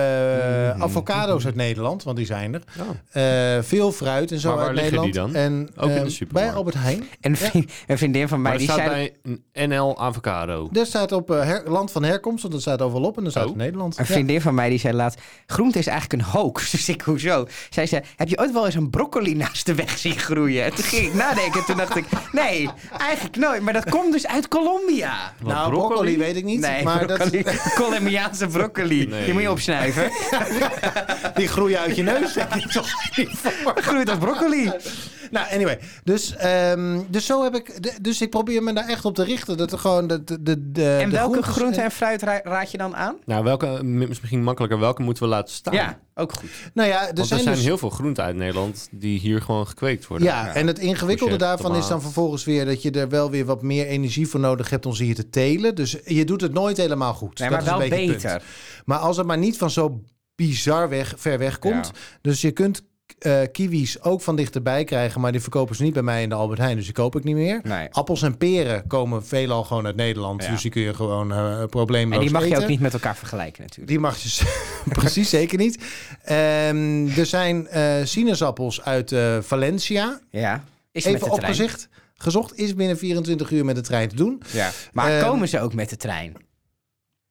A: Hmm.
B: avocado's uit Nederland, want die zijn er.
A: Oh.
B: Eh, veel fruit en zo
A: Maar waar
B: uit
A: liggen
B: Nederland.
A: die dan?
B: En,
A: Ook in de
B: ehm,
A: supermarkt?
B: Bij Albert Heijn.
C: Een, vriend- een vriendin van
A: eh, Maar
C: mij
A: er
C: die
A: staat
C: zei...
A: bij een NL Avocado.
B: Daar staat op eh, her- land van herkomst, want dat staat overal op en dan staat
A: Oh.
B: het Nederland.
C: Een
B: Ja.
C: vriendin van mij die zei laatst... groente is eigenlijk een hoax. Dus ik, hoezo? Zij zei, heb je ooit wel eens een broccoli naast de weg zien groeien? En toen ging ik nadenken en toen dacht ik... nee, eigenlijk nooit. Maar dat komt dus uit Colombia.
A: Want
B: Nou, broccoli? weet ik niet,
C: nee,
B: maar dat,
C: broccoli, Colombiaanse broccoli.
A: Nee.
C: Die moet je opsnuiven.
B: die groeien uit je neus. denk ik toch niet voor.
C: Groeit als broccoli.
B: Nou, anyway. Dus, ehm, dus zo heb ik. de- Dus ik probeer me daar echt op te richten. Dat er gewoon. De, de, de, de
C: En welke
B: groentes-
C: groente en fruit ra- raad je dan aan?
A: Nou, welke, misschien makkelijker, welke moeten we laten staan?
C: Ja, ook goed.
B: Nou ja, er
A: Want er
B: zijn,
A: zijn
B: dus,
A: heel veel groenten uit Nederland die hier gewoon gekweekt worden.
B: Ja, en het ingewikkelde
C: eh,
A: Courgette,
B: daarvan is dan
A: tomaat.
B: vervolgens weer dat je er wel weer wat meer energie voor nodig hebt om ze hier te telen. Dus je doet het nooit helemaal goed.
C: Nee,
B: Dat
C: maar
B: is een
C: wel
B: beetje het
C: beter.
B: punt. Maar als het maar niet van zo bizar weg, ver weg komt.
C: Ja.
B: Dus je kunt eh, kiwis ook van dichterbij krijgen, maar die verkopen ze niet bij mij in de Albert Heijn, dus die koop ik niet meer.
C: Nee.
B: Appels en peren komen veelal gewoon uit Nederland,
C: Ja.
B: dus die kun je gewoon eh probleemloos
C: En die mag
B: eten.
C: je ook niet met elkaar vergelijken natuurlijk.
B: Die mag je z- precies zeker niet. Ehm, er zijn eh, sinaasappels uit eh, Valencia.
C: Ja. Is met
B: Even
C: de trein.
B: opgezicht. Gezocht is binnen 24 uur met de trein te doen.
C: Ja. Maar
B: Ehm,
C: komen ze ook met de trein?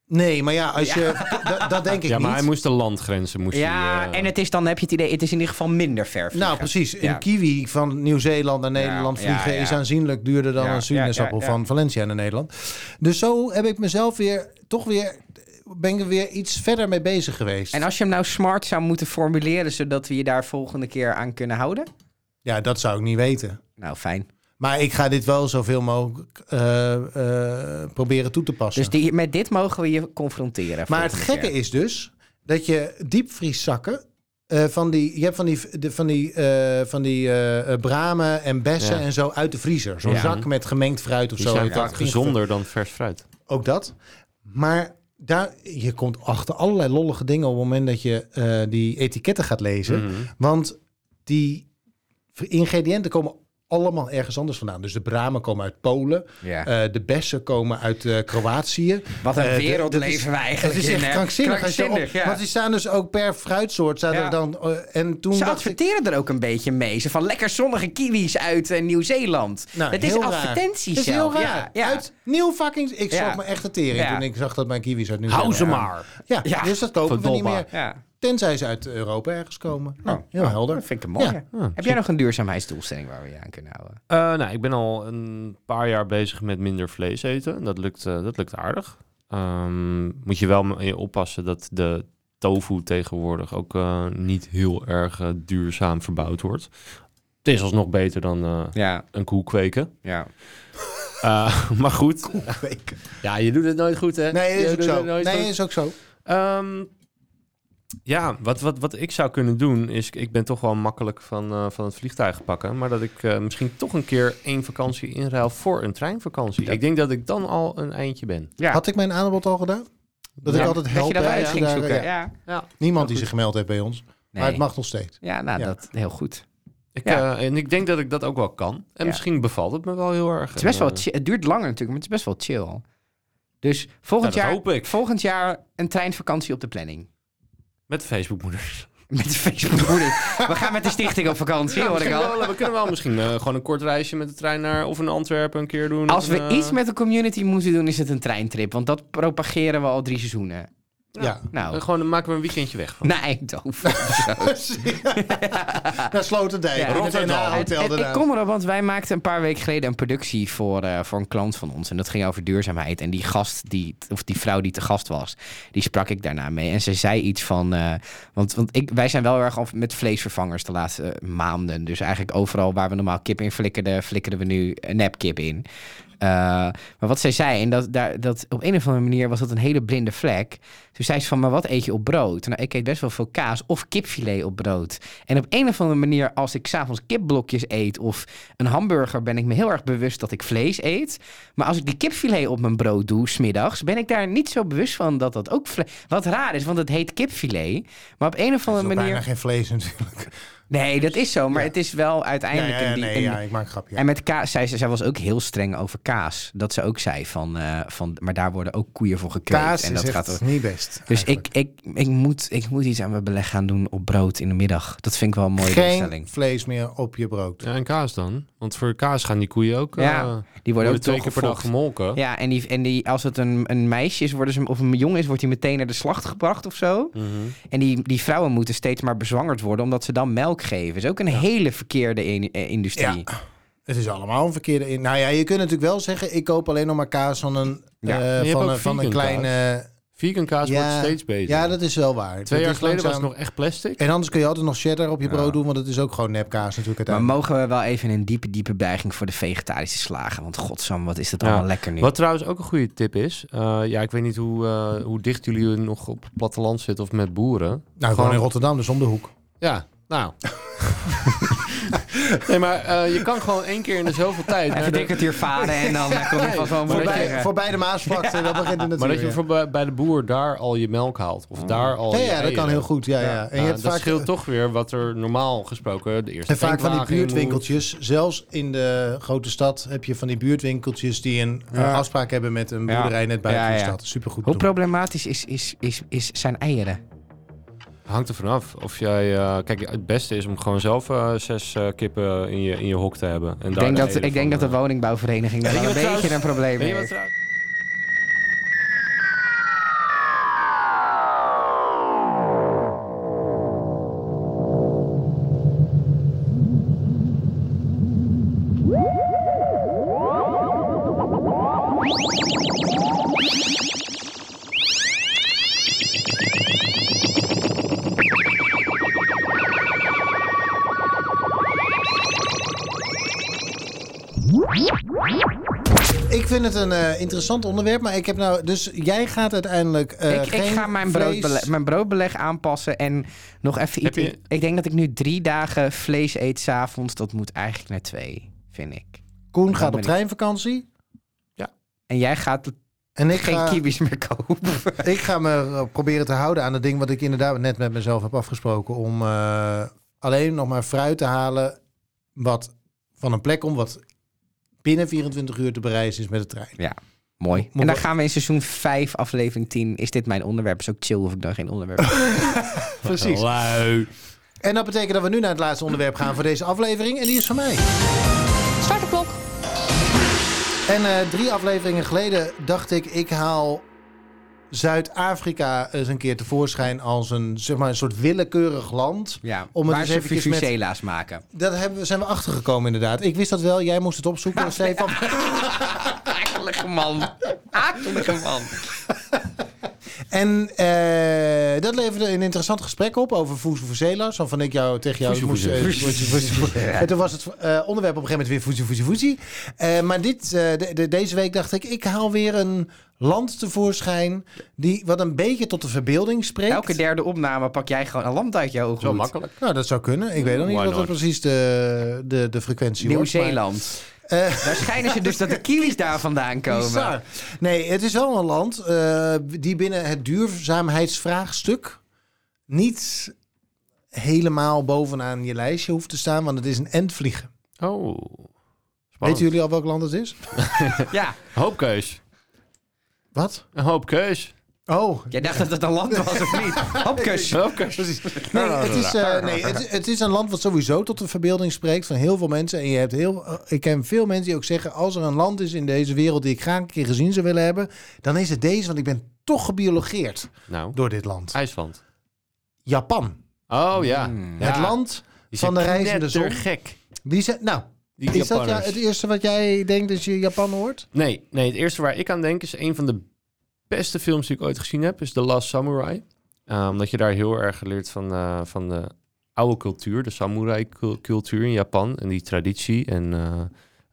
B: Nee, maar ja, als je, da- dat denk ik
A: Ja, maar
B: niet.
A: hij moest de landgrenzen. Moest
C: Ja,
A: hij, eh,
C: en het is dan heb je het idee, het is in ieder geval minder ver. vliegen.
B: Nou, precies.
C: Ja.
B: Een kiwi van Nieuw-Zeeland naar Nederland
C: Ja, ja,
B: vliegen
C: ja.
B: is aanzienlijk duurder dan
C: Ja,
B: een sinaasappel
C: ja, ja, ja.
B: van Valencia naar Nederland. Dus zo heb ik mezelf weer, toch weer, ben ik er weer iets verder mee bezig geweest.
C: En als je hem nou smart zou moeten formuleren, zodat we je daar volgende keer aan kunnen houden?
B: Ja, dat zou ik niet weten.
C: Nou, fijn.
B: Maar ik ga dit wel zoveel mogelijk eh, eh, proberen toe te passen.
C: Dus die, met dit mogen we je confronteren.
B: Maar het
C: volgende
B: gekke
C: keer.
B: is dus dat je diepvrieszakken. eh, van die, je hebt van die, de, van die, eh, van die eh, eh, bramen en bessen
A: Ja.
B: en zo uit de vriezer. Zo'n
C: Ja.
B: zak met gemengd fruit of
A: die
B: zo.
A: zijn
B: Ja.
A: vaak gezonder dan vers fruit.
B: Ook dat. Maar daar, je komt achter allerlei lollige dingen op het moment dat je eh, die etiketten gaat lezen.
A: Mhm.
B: Want die ingrediënten komen allemaal ergens anders vandaan. Dus de bramen komen uit Polen.
C: Ja.
B: eh, de bessen komen uit eh, Kroatië.
C: Wat een
B: eh, de-
C: wereld
B: dat is-
C: leven we
B: Het
C: eigenlijk
B: is
C: in,
B: echt
C: hè?
B: krankzinnig. als
C: Krankzinnig,
B: je op,
C: ja.
B: Want die staan dus ook per fruitsoort. Staan
C: Ja.
B: er dan, eh, en toen
C: Ze
B: dacht ik,
C: adverteren er ook een beetje mee. Ze van lekker zonnige kiwis uit eh, Nieuw-Zeeland.
B: nou,
C: het is
B: heel raar.
C: advertentie
B: Het is heel
C: zelf.
B: raar.
C: Ja, ja.
B: Uit nieuw fucking... Ik
C: Ja.
B: zag me echt de tering
C: Ja.
B: toen ik zag dat mijn kiwis uit nu
A: Hou ze maar.
B: Ja,
C: Ja.
B: dus dat kopen we niet
A: Verdomme.
B: meer.
C: Ja.
B: Tenzij ze uit Europa ergens komen. Nou,
C: Oh,
B: heel helder.
C: Dat vind ik een mooie.
B: Ja.
C: Heb jij nog een duurzaamheidsdoelstelling waar we je aan kunnen houden?
A: Ah. Eh, nou, ik ben al een paar jaar bezig met minder vlees eten. Dat lukt, eh, dat lukt aardig. Ehm, moet je wel mee oppassen dat de tofu tegenwoordig ook eh, niet heel erg eh, duurzaam verbouwd wordt. Het is alsnog beter dan eh,
C: Ja,
A: een koe kweken.
C: ja.
A: Eh, maar goed.
B: Weken.
A: Ja, je doet het nooit goed, hè?
B: Nee,
A: Je
B: is ook
A: doet het
B: zo.
A: nooit
B: Nee,
A: goed.
B: is ook zo.
A: Ehm, ja, wat, wat, wat ik zou kunnen doen is... Ik ben toch wel makkelijk van, eh, van het vliegtuig pakken. Maar dat ik eh, misschien toch een keer één vakantie inruil voor een treinvakantie. Ik denk dat ik dan al een eindje ben.
C: Ja.
B: Had ik mijn aanbod al gedaan? Dat ik
A: Ja,
B: altijd
C: Dat
B: help.
C: je dat
B: hè,
C: uit
B: als je
C: ging
B: daar-
C: zoeken. Ja,
B: ja.
C: ja.
B: Niemand
A: Heel
B: die zich gemeld heeft bij ons.
C: Nee.
B: Maar het mag nog steeds.
C: ja nou,
B: Ja.
C: dat heel goed.
A: Ik,
C: Ja.
A: eh, en ik denk dat ik dat ook wel kan. En
C: Ja.
A: misschien bevalt het me wel heel erg.
C: Het, is best wel
A: En, eh,
C: chi- het duurt langer natuurlijk, maar het is best wel chill. Dus volgend,
A: Ja, dat
C: jaar,
A: hoop ik.
C: volgend jaar een treinvakantie op de planning.
A: met Facebookmoeders.
C: Met de Facebookmoeder. We gaan met de stichting op vakantie, hoor ik
A: Misschien
C: al.
A: wel, we kunnen wel misschien eh, gewoon een kort reisje met de trein naar... of in Antwerpen een keer doen.
C: Als
A: of
C: we
A: een, eh,
C: iets met de community moeten doen, is het een treintrip. Want dat propageren we al drie seizoenen.
B: Ja.
A: eh,
C: Nou,
A: Gewoon dan maken we een weekendje weg van.
C: naar Eindhoven. of zo.
B: Naar Sloterdijk.
C: Ja,
B: in het
A: Rotterdam.
B: NH Hotel
C: En ik
B: daarna.
C: kom erop, want wij maakten een paar weken geleden een productie voor, eh, voor een klant van ons. En dat ging over duurzaamheid. En die gast, die, of die vrouw die te gast was, die sprak ik daarna mee. En ze zei iets van. eh, want want ik, wij zijn wel erg af met vleesvervangers de laatste eh, maanden. Dus eigenlijk overal waar we normaal kip in flikkerden, flikkeren we nu eh, nepkip in. eh, maar wat zij zei, en dat, daar, dat op een of andere manier was dat een hele blinde vlek. Toen zei ze van, maar wat eet je op brood? Nou, ik eet best wel veel kaas of kipfilet op brood. En op een of andere manier, als ik s'avonds kipblokjes eet of een hamburger, ben ik me heel erg bewust dat ik vlees eet. Maar als ik die kipfilet op mijn brood doe, smiddags, ben ik daar niet zo bewust van dat dat ook vlees... Wat raar is, want het heet kipfilet. Maar op een of
B: Dat is
C: andere
B: ook bijna
C: manier...
B: geen vlees natuurlijk.
C: Nee, dat is zo, maar
B: Ja.
C: het is wel
B: Ja,
C: uiteindelijk...
B: ja,
C: een die-
B: nee,
C: een-
B: ja, ik maak een grapje.
C: en met kaas, zij, zij was ook heel streng over kaas. Dat ze ook zei van, eh, van maar daar worden ook koeien voor gekweekt.
B: Kaas
C: en
B: is
C: dat
B: echt
C: gaat er-
B: niet best.
C: Dus
B: eigenlijk.
C: ik, ik, ik, moet, ik moet iets aan mijn beleg gaan doen op brood in de middag. Dat vind ik wel een mooie
B: Geen
C: doelstelling.
B: vlees meer op je brood.
A: Ja, en kaas dan? Want voor kaas gaan die koeien ook... eh,
C: Ja,
A: worden
C: Die worden ook
A: twee keer per dag
C: doorgevocht.
A: gemolken.
C: Ja, en, die, en die, als het een, een meisje is worden ze, of een jongen is, wordt hij meteen naar de slacht gebracht of zo.
A: Mhm.
C: En die, die vrouwen moeten steeds maar bezwangerd worden, omdat ze dan melk geven. is ook een hele verkeerde in- eh, industrie.
B: Ja. Het is allemaal een verkeerde in. Nou ja, je kunt natuurlijk wel zeggen: ik koop alleen nog maar kaas van een,
C: Ja.
B: eh,
A: je hebt
B: van
A: ook
B: een, van een
A: vegan
B: kleine.
A: Vegan kaas
B: Ja.
A: wordt steeds beter.
B: Ja, dat is wel waar.
A: Twee
B: Dat
A: jaar
B: is
A: geleden was
B: langzaam-
A: het nog echt plastic.
B: En anders kun je altijd nog cheddar op je
A: Ja.
B: brood doen, want het is ook gewoon nepkaas natuurlijk.
C: Maar
B: uiteindelijk.
C: mogen we wel even een diepe, diepe buiging voor de vegetarische slagen? Want godsam, wat is dat
A: Ja.
C: allemaal lekker nu.
A: Wat trouwens ook een goede tip is. eh, ja, ik weet niet hoe, eh, hoe dicht jullie nog op het platteland zitten of met boeren.
B: nou, gewoon in Rotterdam, dus om de hoek.
A: Ja, nou. nee, maar eh, je kan gewoon één keer in de zoveel tijd. naar
C: Even
A: de-
C: dik het hier vaden en dan eh, kom je vast wel
A: Voorbij-
C: een mooi
B: Voorbij,
C: tegen.
B: voorbij de Maasvlakte, dat begint het natuurlijk.
A: maar dat je
B: ja. Mm.
A: bijvoorbeeld bij de boer daar al je melk haalt. Of daar al.
B: Ja,
A: je
B: ja, dat
A: eieren.
B: kan heel goed. Ja, ja. En je
A: Nou,
B: hebt
A: dat
B: vaak, eh,
A: scheelt toch weer wat er normaal gesproken de eerste
B: en vaak van die
A: tankwagen in moet.
B: buurtwinkeltjes. Zelfs in de grote stad heb je van die buurtwinkeltjes die een eh,
C: Ja.
B: afspraak hebben met een
C: Ja.
B: boerderij net buiten
C: Ja,
B: de
C: ja.
B: stad. Supergoed.
C: Hoe
B: doen.
C: problematisch is, is, is, is zijn eieren?
A: Hangt er vanaf. Of jij, eh, kijk, het beste is om gewoon zelf eh, zes eh, kippen in je, in je hok te hebben. En
C: Ik
A: daar
C: denk,
A: de
C: dat,
A: eieren
C: ik denk
A: van,
C: dat de
A: eh,
C: woningbouwvereniging daar
A: Weet
C: wel
A: je
C: een beetje
A: wat trouwens-
C: een probleem
A: Weet
C: mee
A: je wat
C: heeft.
A: trouwens-
B: Ik vind het een eh, interessant onderwerp, maar ik heb nou... Dus jij gaat uiteindelijk eh,
C: ik, ik
B: geen
C: ga mijn,
B: vlees-
C: broodbeleg, mijn broodbeleg aanpassen en nog even
A: Heb
C: iets.
A: je-
C: Ik, ik denk dat ik nu drie dagen vlees eet s'avonds. Dat moet eigenlijk naar twee, vind ik.
B: Koen gaat
C: ben
B: op
C: ik.
B: treinvakantie.
C: En jij gaat
B: En ik
C: geen
B: ga,
C: kiwis meer kopen.
B: ik ga me eh, proberen te houden aan het ding wat ik inderdaad net met mezelf heb afgesproken. Om eh, alleen nog maar fruit te halen wat van een plek komt, wat binnen 24 uur te bereizen is met de trein.
C: Mooi.
B: Moet
C: en dan
B: we-
C: gaan we in seizoen 5, aflevering 10. Is dit mijn onderwerp? Is ook chill of ik dan geen onderwerp heb.
B: Precies.
A: Lui.
B: En dat betekent dat we nu naar het laatste onderwerp gaan voor deze aflevering. En die is van mij.
D: Start de klok.
B: En eh, drie afleveringen geleden dacht ik, ik haal Zuid-Afrika eens een keer tevoorschijn als een, zeg maar, een soort willekeurig land.
C: Ja,
B: Om
C: om
B: het
C: waar
B: eens
C: ze
B: eventjes met-
C: fusela's maken.
B: Daar hebben, we- zijn we achtergekomen inderdaad. Ik wist dat wel, jij moest het opzoeken, Stefan.
C: Akelige man. Akelige man.
B: En eh, dat leverde een interessant gesprek op over Fusu Fusela. Zo van ik jou tegen jou
A: Fusu
B: moest... eh,
A: Fusela.
B: Fusu Fusela. En toen was het eh, onderwerp op een gegeven moment weer Fusu Fusu Fusu. Eh, maar dit, eh, de- de- deze week dacht ik, ik haal weer een land tevoorschijn... Die, wat een beetje tot de verbeelding spreekt.
C: Elke derde opname pak jij gewoon een lamp uit je ogen.
A: Zo makkelijk.
B: Nou, dat zou kunnen. Ik weet nog niet
A: Why
B: wat dat
A: not?
B: precies de, de, de frequentie was, maar-
C: Nieuw-Zeeland.
B: Eh,
C: Daar schijnen ze dus dat de kiwis daar vandaan komen.
B: Bizar. Nee, het is wel een land eh, die binnen het duurzaamheidsvraagstuk niet helemaal bovenaan je lijstje hoeft te staan, want het is een endvliegen.
A: Oh.
B: Weten
A: Spannend.
B: jullie al welk land het is?
C: Ja,
A: Hoopkeus.
B: Wat?
A: Een hoop keus.
B: Oh,
C: jij dacht dat het een land was of niet? Hopkes.
A: Hoopkeus.
B: nee, het is, eh, nee het, het is een land wat sowieso tot de verbeelding spreekt van heel veel mensen. En je hebt heel, eh, ik ken veel mensen die ook zeggen, als er een land is in deze wereld die ik graag een keer gezien zou willen hebben, dan is het deze, want ik ben toch gebiologeerd
A: Nou,
B: door dit land.
A: IJsland.
B: Japan.
A: Oh ja.
C: Hmm.
A: Ja.
B: Het land
A: Die
B: van de
A: zijn
B: reizende zon.
A: knettergek,
B: Die zijn, nou,
A: Die
B: is dat ja,
A: Japanners.
B: het eerste wat jij denkt als je Japan hoort?
A: Nee, nee, het eerste waar ik aan denk is een van de beste films die ik ooit gezien heb, is The Last Samurai. Eh, omdat je daar heel erg leert van, eh, van de oude cultuur, de samurai cul- cultuur in Japan en die traditie en eh,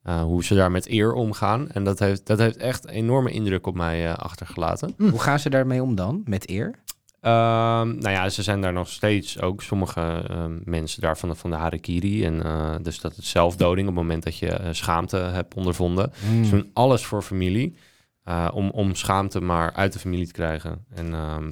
A: eh, hoe ze daar met eer omgaan. En dat heeft, dat heeft echt enorme indruk op mij eh, achtergelaten.
C: Hoe gaan ze daarmee om dan? Met eer?
A: Ehm, nou ja, ze zijn daar nog steeds ook sommige ehm, mensen daar van de, van de Harikiri. En eh, dus dat het zelfdoding op het moment dat je eh, schaamte hebt ondervonden.
C: Mm.
A: Ze doen alles voor familie. eh, om, om schaamte maar uit de familie te krijgen. En ehm,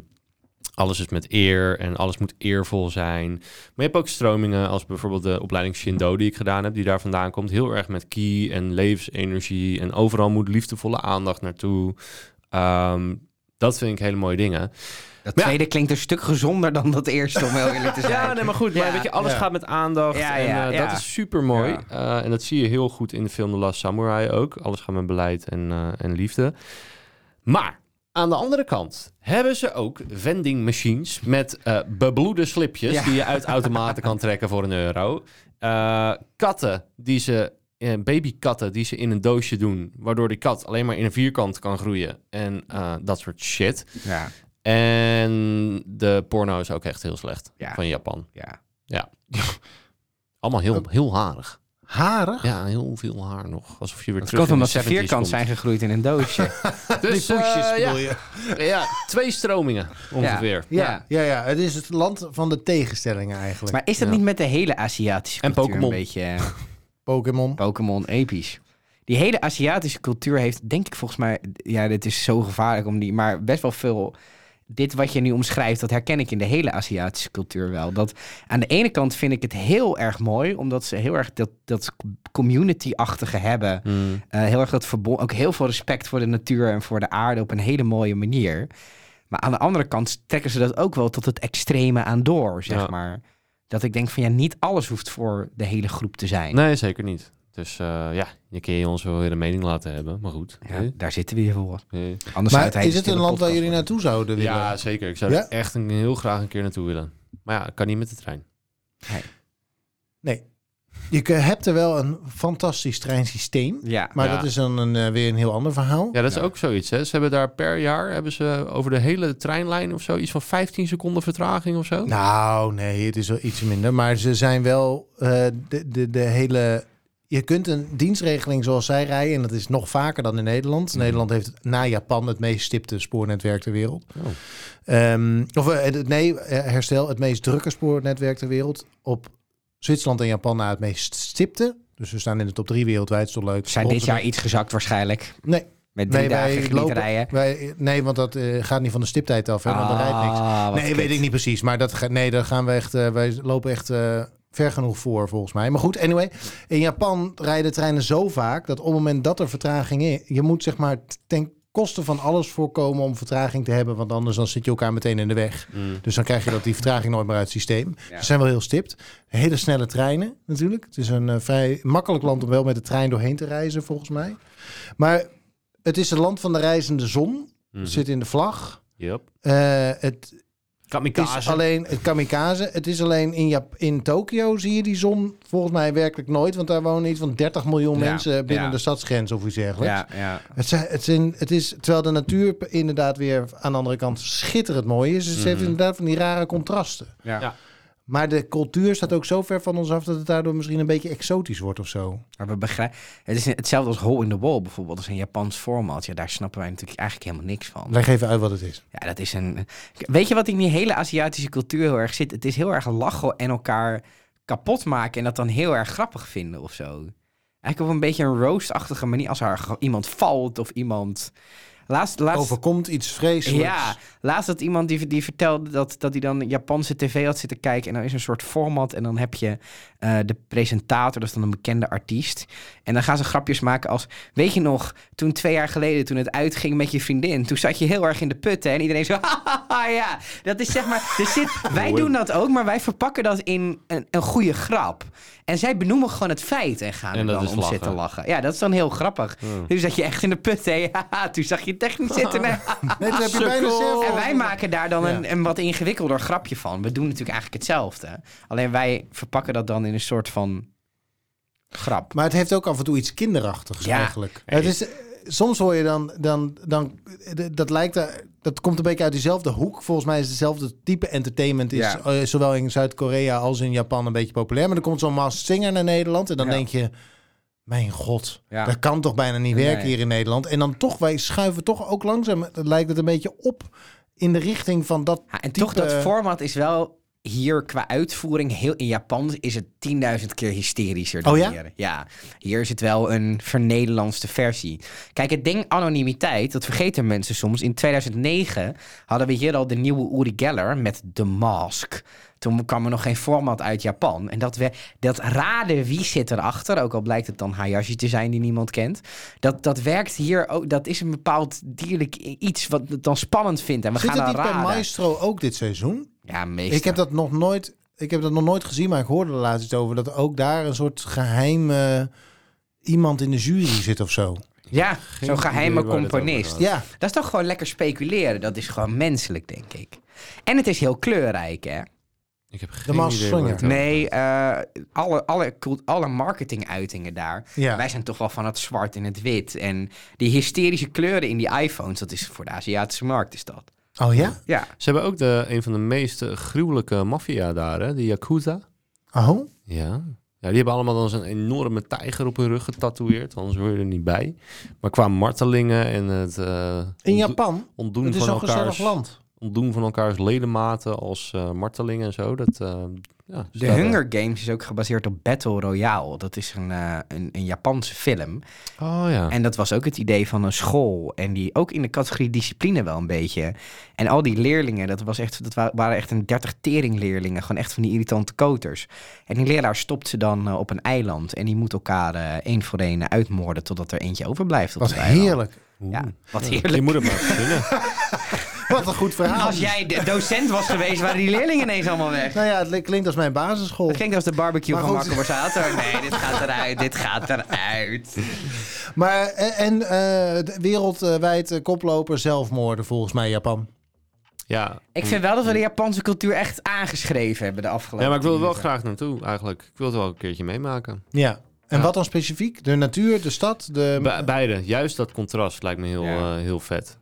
A: alles is met eer en alles moet eervol zijn. Maar je hebt ook stromingen als bijvoorbeeld de opleiding Shindo die ik gedaan heb, die daar vandaan komt. Heel erg met ki en levensenergie. En overal moet liefdevolle aandacht naartoe. Ehm, dat vind ik hele mooie dingen.
C: Dat
A: Maar ja.
C: tweede klinkt een stuk gezonder dan dat eerste, om heel eerlijk te zijn.
A: Ja, nee, maar goed.
C: Ja.
A: Maar weet je, alles
B: Ja.
A: gaat met aandacht.
C: Ja,
A: en,
C: ja,
A: eh,
C: ja.
A: Dat is super mooi. en dat zie je heel goed in de film The Last Samurai ook. Alles gaat met beleid en, eh, en liefde. Maar aan de andere kant hebben ze ook vending machines met eh, bebloede slipjes
C: Ja.
A: die je uit automaten kan trekken voor een euro. Eh, katten die ze. eh, babykatten die ze in een doosje doen, waardoor die kat alleen maar in een vierkant kan groeien en eh, dat soort shit.
C: Ja,
A: En de porno is ook echt heel slecht
C: Ja.
A: van Japan.
C: ja.
A: Allemaal heel, heel harig.
B: Harig?
A: Ja, heel veel haar nog. Alsof je weer
C: Dat
A: terug
C: komt
A: in de
C: omdat ze
A: 70s
C: vierkant
A: komt.
C: zijn gegroeid in een doosje.
A: Dus,
B: Die poesjes
A: eh,
B: bedoel
A: ja,
B: je?
A: ja, twee stromingen ongeveer.
B: Ja, ja, ja, het is het land van de tegenstellingen eigenlijk.
C: Maar is dat
A: Ja.
C: niet met de hele Aziatische
A: En
C: cultuur
A: Pokémon.
C: een beetje eh,
B: Pokémon.
C: Pokémon episch? Die hele Aziatische cultuur heeft, denk ik volgens mij... Ja, dit is zo gevaarlijk om die... Maar best wel veel... Dit wat je nu omschrijft, dat herken ik in de hele Aziatische cultuur wel. Dat aan de ene kant vind ik het heel erg mooi, omdat ze heel erg dat, dat community-achtige hebben.
A: Hmm.
C: Eh, heel erg dat verbond. Ook heel veel respect voor de natuur en voor de aarde op een hele mooie manier. Maar aan de andere kant trekken ze dat ook wel tot het extreme aan door, zeg
A: Ja.
C: maar. Dat ik denk van ja, niet alles hoeft voor de hele groep te zijn.
A: Nee, zeker niet. Dus eh, ja, je kun je ons wel weer een mening laten hebben. Maar goed.
C: Ja, daar zitten we hier voor.
A: Eh, eh.
C: Anders
B: Maar
C: zou hij
B: is
C: de
B: het een
C: stille
B: land waar
C: podcast
B: jullie
C: worden.
B: naartoe zouden willen?
A: Ja, zeker. Ik zou
B: Ja?
A: er echt een, heel graag een keer naartoe willen. Maar ja, ik kan niet met de trein.
B: Nee. Je k- hebt er wel een fantastisch treinsysteem.
C: Ja.
B: Maar
A: Ja.
B: dat is dan een, eh, weer een heel ander verhaal.
A: Ja, dat is
C: Ja.
A: ook zoiets. Hè. Ze hebben daar per jaar hebben ze over de hele treinlijn of zo iets van 15 seconden vertraging of zo.
B: Nou, nee, het is wel iets minder. Maar ze zijn wel eh, de, de, de hele. Je kunt een dienstregeling zoals zij rijden, en dat is nog vaker dan in Nederland.
A: Mhm.
B: Nederland heeft na Japan het meest stipte spoornetwerk ter wereld.
A: Oh.
B: Ehm, of eh, het- nee, eh, herstel, het meest drukke spoornetwerk ter wereld. Op Zwitserland en Japan na het meest stipte. Dus we staan in de top drie wereldwijd, is toch leuk.
C: We zijn dit jaar
B: Rotterdam-
C: iets gezakt waarschijnlijk.
B: Nee,
C: Met drie
B: nee,
C: dagen
B: wij
C: genieten rijden.
B: lopen, wij, nee, want dat eh, gaat niet van de stiptijd af. Hè, want er rijdt niks.
C: Ah, wat
B: Nee,
C: kut.
B: weet ik niet precies. Maar dat ga, nee, daar gaan we echt. eh, wij lopen echt eh, ver genoeg voor, volgens mij. Maar goed, anyway. In Japan rijden treinen zo vaak dat op het moment dat er vertraging is, je moet zeg maar t- ten koste van alles voorkomen om vertraging te hebben, want anders dan zit je elkaar meteen in de weg.
A: Mm.
B: Dus dan krijg je dat die vertraging nooit meer uit het systeem.
C: Ja.
B: Ze zijn wel heel stipt. Hele snelle treinen natuurlijk. Het is een eh, vrij makkelijk land om wel met de trein doorheen te reizen, volgens mij. Maar het is het land van de reizende zon.
A: Mhm.
B: Het zit in de vlag.
A: Yep.
B: Eh, het, het is
A: Kamikaze.
B: alleen het kamikaze. Het is alleen in, Jap in Tokio zie je die zon volgens mij werkelijk nooit. Want daar wonen iets van 30 miljoen
C: Ja,
B: mensen binnen
C: ja.
B: de stadsgrens of iets dergelijks.
C: Ja, ja.
B: Het, zijn- het, zijn- het is, terwijl de natuur p- inderdaad weer aan de andere kant schitterend mooi is. Dus het heeft
A: Mhm.
B: inderdaad van die rare contrasten.
C: Ja.
A: Ja.
B: Maar de cultuur staat ook zo ver van ons af dat het daardoor misschien een beetje exotisch wordt of zo.
C: Maar we begrijpen. Het is hetzelfde als Hole in the Wall bijvoorbeeld. Dat is een Japans format. Ja, daar snappen wij natuurlijk eigenlijk helemaal niks van.
B: Leg even uit wat het is.
C: Ja, dat is een. Weet je wat in die hele Aziatische cultuur heel erg zit? Het is heel erg lachen en elkaar kapot maken en dat dan heel erg grappig vinden of zo. Eigenlijk op een beetje een roastachtige manier. Als er ge- iemand valt of iemand. Laatst, laatst,
B: Overkomt iets vreselijks.
C: ja, laatst dat iemand die, die vertelde dat, dat hij dan Japanse tv had zitten kijken. En dan is een soort format. En dan heb je eh, de presentator, dat is dan een bekende artiest. En dan gaan ze grapjes maken als... Weet je nog, toen twee jaar geleden, toen het uitging met je vriendin... toen zat je heel erg in de putten. En iedereen zo... "Hahaha, ja, dat is zeg maar... Er zit, wij doen dat ook, maar wij verpakken dat in een, een goede grap. En zij benoemen gewoon het feit en gaan
A: En
C: er
A: dat
C: dan
A: is
C: om
A: lachen.
C: zitten lachen. Ja, dat is dan heel grappig.
A: Hmm.
C: Toen zat je echt in de put, hè. Haha, toen zag je technisch zitten. hè.
B: Nee, dat heb je bijna zelf.
C: En wij maken daar dan
B: Oh. Ja.
C: een, een wat ingewikkelder grapje van. We doen natuurlijk eigenlijk hetzelfde. Alleen wij verpakken dat dan in een soort van grap.
B: Maar het heeft ook af en toe iets kinderachtigs
C: Ja.
B: eigenlijk. Het is, eh, soms hoor je dan, dan, dan eh, dat lijkt, eh, dat komt een beetje uit diezelfde hoek. Volgens mij is hetzelfde type entertainment is
C: Ja.
B: eh, zowel in Zuid-Korea als in Japan een beetje populair. Maar dan komt zo'n Masked Singer naar Nederland en dan
C: Ja.
B: denk je, Mijn god,
C: Ja.
B: dat kan toch bijna niet werken
C: Nee.
B: hier in Nederland. En dan toch, wij schuiven toch ook langzaam, eh, lijkt het een beetje op in de richting van dat
C: Ja, en
B: type- eh,
C: toch, dat format is wel hier qua uitvoering heel in Japan is het 10.000 keer hysterischer dan
B: Oh ja?
C: hier. Ja, hier is het wel een vernederlandste versie. Kijk, het ding anonimiteit, dat vergeten mensen soms. In 2009 hadden we hier al de nieuwe Uri Geller met The Mask. Toen kwam er nog geen format uit Japan. En dat, we, dat raden wie zit erachter, ook al blijkt het dan Hayashi te zijn die niemand kent. Dat, dat werkt hier ook, dat is een bepaald dierlijk iets wat het dan spannend vindt. En we
B: Zit
C: gaan
B: het
C: dan
B: niet bij
C: raden.
B: Maestro ook dit seizoen?
C: Ja, meestal.
B: Ik heb dat nog nooit, ik heb dat nog nooit gezien, maar ik hoorde er laatst iets over dat ook daar een soort geheim eh, iemand in de jury zit of zo.
C: Ja, zo'n geheime
A: idee waar dit over
C: componist.
A: gaat.
B: Ja,
C: Dat is toch gewoon lekker speculeren. Dat is gewoon menselijk, denk ik. En het is heel kleurrijk, hè?
A: Ik heb geen
B: Maas
A: idee waar
B: Slinger.
A: het over
C: Nee, eh, alle, alle, cult- alle marketinguitingen daar.
B: ja.
C: Wij zijn toch wel van het zwart en het wit. En die hysterische kleuren in die iPhones, dat is voor de Aziatische markt, is dat.
B: Oh ja?
C: Ja.
A: Ze hebben ook de, een van de meest eh, gruwelijke maffia daar, hè? de Yakuza.
B: Oh?
A: Ja. ja, die hebben allemaal dan zo'n enorme tijger op hun rug getatoeëerd, anders hoor je er niet bij. Maar qua martelingen en het eh,
B: In
A: ontdo-
B: Japan?
A: ontdoen,
B: Het is
A: van
B: zo'n gezellig
A: elkaars,
B: land.
A: ontdoen van elkaars ledematen als eh, martelingen en zo. Dat, eh, ja,
C: De Hunger Games is ook gebaseerd op Battle Royale. Dat is een, eh, een, een Japanse film.
A: Oh ja.
C: En dat was ook het idee van een school. En die ook in de categorie discipline wel een beetje. En al die leerlingen, dat, was echt, dat wa- waren echt een dertig teringleerlingen. Gewoon echt van die irritante koters. En die leraar stopt ze dan eh, op een eiland. En die moet elkaar eh, één voor één eh, uitmoorden totdat er eentje overblijft. Op
B: Wat
C: het eiland.
B: heerlijk.
A: Oeh.
C: Ja, wat
A: Je
C: heerlijk.
A: moet het maar verzinnen.
B: Wat een goed verhaal.
C: Als jij de docent was geweest, waren die leerlingen ineens allemaal weg.
B: Nou ja, het li- klinkt als mijn basisschool.
C: Dat klinkt als de barbecue
B: Maar
C: van
B: goed.
C: Marco Borsato. Nee, dit gaat eruit, dit gaat eruit.
B: Maar eh, en eh, de wereldwijd eh, koploper zelfmoorden volgens mij Japan.
A: ja.
C: Ik vind wel dat we de Japanse cultuur echt aangeschreven hebben de afgelopen
A: ja, maar ik wil er wel
C: minuten.
A: graag naartoe eigenlijk. Ik wil het wel een keertje meemaken.
B: Ja. En
A: Ja.
B: wat dan specifiek? De natuur, de stad, de...
A: Be- beide. Juist dat contrast lijkt me heel,
C: Ehm, Ja.
A: eh, heel vet.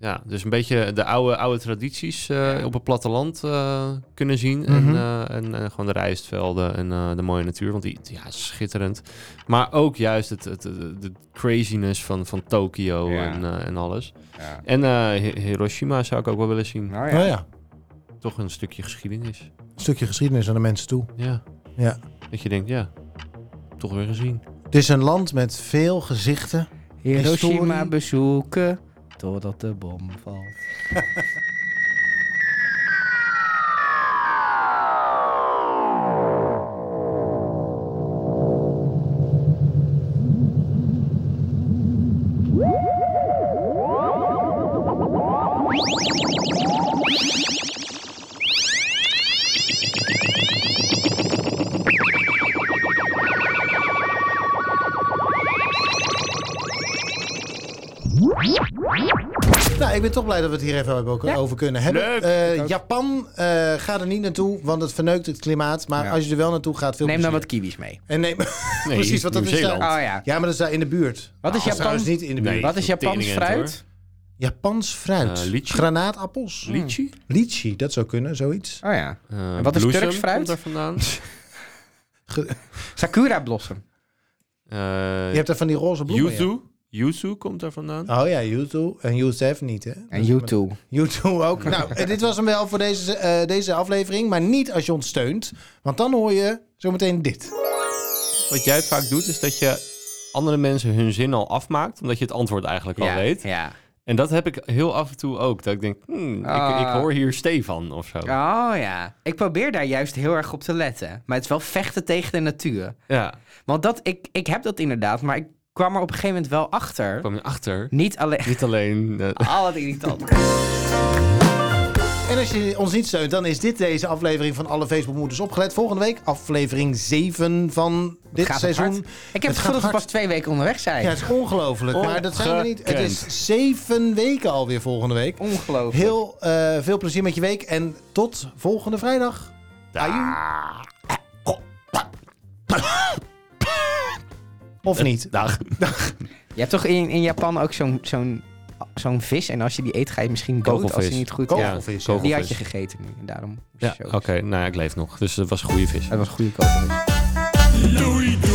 A: Ja, dus een beetje de oude, oude tradities eh, op het platteland eh, kunnen zien.
B: Mhm.
A: En, eh, en, en gewoon de rijstvelden en eh, de mooie natuur. Want die ja, is schitterend. Maar ook juist het, het, het- de craziness van, van Tokio
C: Ja.
A: en, eh, en alles.
C: Ja.
A: En eh, Hi- Hiroshima zou ik ook wel willen zien.
C: Nou
B: Oh ja,
A: Toch een stukje geschiedenis.
B: een stukje geschiedenis aan de mensen toe.
A: Ja.
B: Ja.
A: Dat je denkt, ja, toch weer gezien.
B: Het is een land met veel gezichten.
C: Hiroshima
B: Historie.
C: bezoeken totdat de bom valt.
B: Nou, ik ben toch blij dat we het hier even hebben ook eh, over kunnen hebben.
A: Leuk.
B: Eh, Japan, eh, ga er niet naartoe, want het verneukt het klimaat. Maar
C: Ja.
B: als je er wel naartoe gaat, veel
C: Neem dan
B: plezier.
C: wat kiwis mee.
B: En neem...
A: Nee,
B: Precies, want dat is
A: Nieuw-Zeeland.
B: daar-
C: Oh ja.
B: Ja, maar dat is daar in de buurt.
C: Wat
B: Nou,
C: is Japan?
B: trouwens niet in de buurt.
A: Nee.
C: Wat is Japans
A: Teringen,
C: fruit?
B: Japans fruit.
A: Eh, lychee.
B: Granaatappels. Hmm.
A: Lychee?
B: Lychee, dat zou kunnen, zoiets.
C: Oh ja.
A: Eh,
C: En wat is
A: bloesem
C: Turks fruit?
A: komt daar vandaan.
C: Sakura blossom.
A: Eh,
B: Je hebt daar van die roze bloemen. ja.
A: Yuzu. Yuzu komt daar vandaan.
B: Oh ja, YouTube. En Youssef niet, hè?
C: En YouTube.
B: YouTube ook. nou, eh, dit was hem wel voor deze, eh, deze aflevering. Maar niet als je ons steunt. Want dan hoor je zometeen dit.
A: Wat jij vaak doet, is dat je andere mensen hun zin al afmaakt, omdat je het antwoord eigenlijk al
C: ja.
A: weet.
C: Ja.
A: En dat heb ik heel af en toe ook. Dat ik denk, hmm,
C: Ah.
A: ik, ik hoor hier Stefan of zo. Ja.
C: Oh ja. Ik probeer daar juist heel erg op te letten. Maar het is wel vechten tegen de natuur. Want dat, ik, ik heb dat inderdaad, maar ik kwam er op een gegeven moment wel
A: Ik
C: achter.
A: kwam achter.
C: Niet alleen...
A: Niet alleen... eh,
C: Al het irritant.
B: En als je ons niet steunt, dan is dit deze aflevering van alle Facebookmoeders opgelet. Volgende week aflevering 7 van dit
C: Gaat het
B: seizoen.
C: hard? Ik heb het
B: gaat
C: gevoel dat we
B: hard.
C: pas twee weken onderweg zijn.
B: Ja, het is ongelooflijk. Maar dat zijn we niet. Het
A: Ongekend.
B: is zeven weken alweer volgende week.
C: Ongelooflijk.
B: Heel eh, veel plezier met je week. En tot volgende vrijdag. Aju. Of niet.
A: dag.
C: Je hebt toch in, in Japan ook zo'n zo'n zo'n vis en als je die eet ga je misschien dood als
A: Kogelvis.
C: die niet goed... Ja,
B: Kogelvis.
A: Ja,
B: ja.
C: die had je
A: kogelvis.
C: gegeten nu en daarom moest je
A: Ja,
C: zo...
A: oké. Nou ja, ik leef nog. Dus dat was een goede vis.
C: Dat was een goede kogelvis.
E: Doei, doei.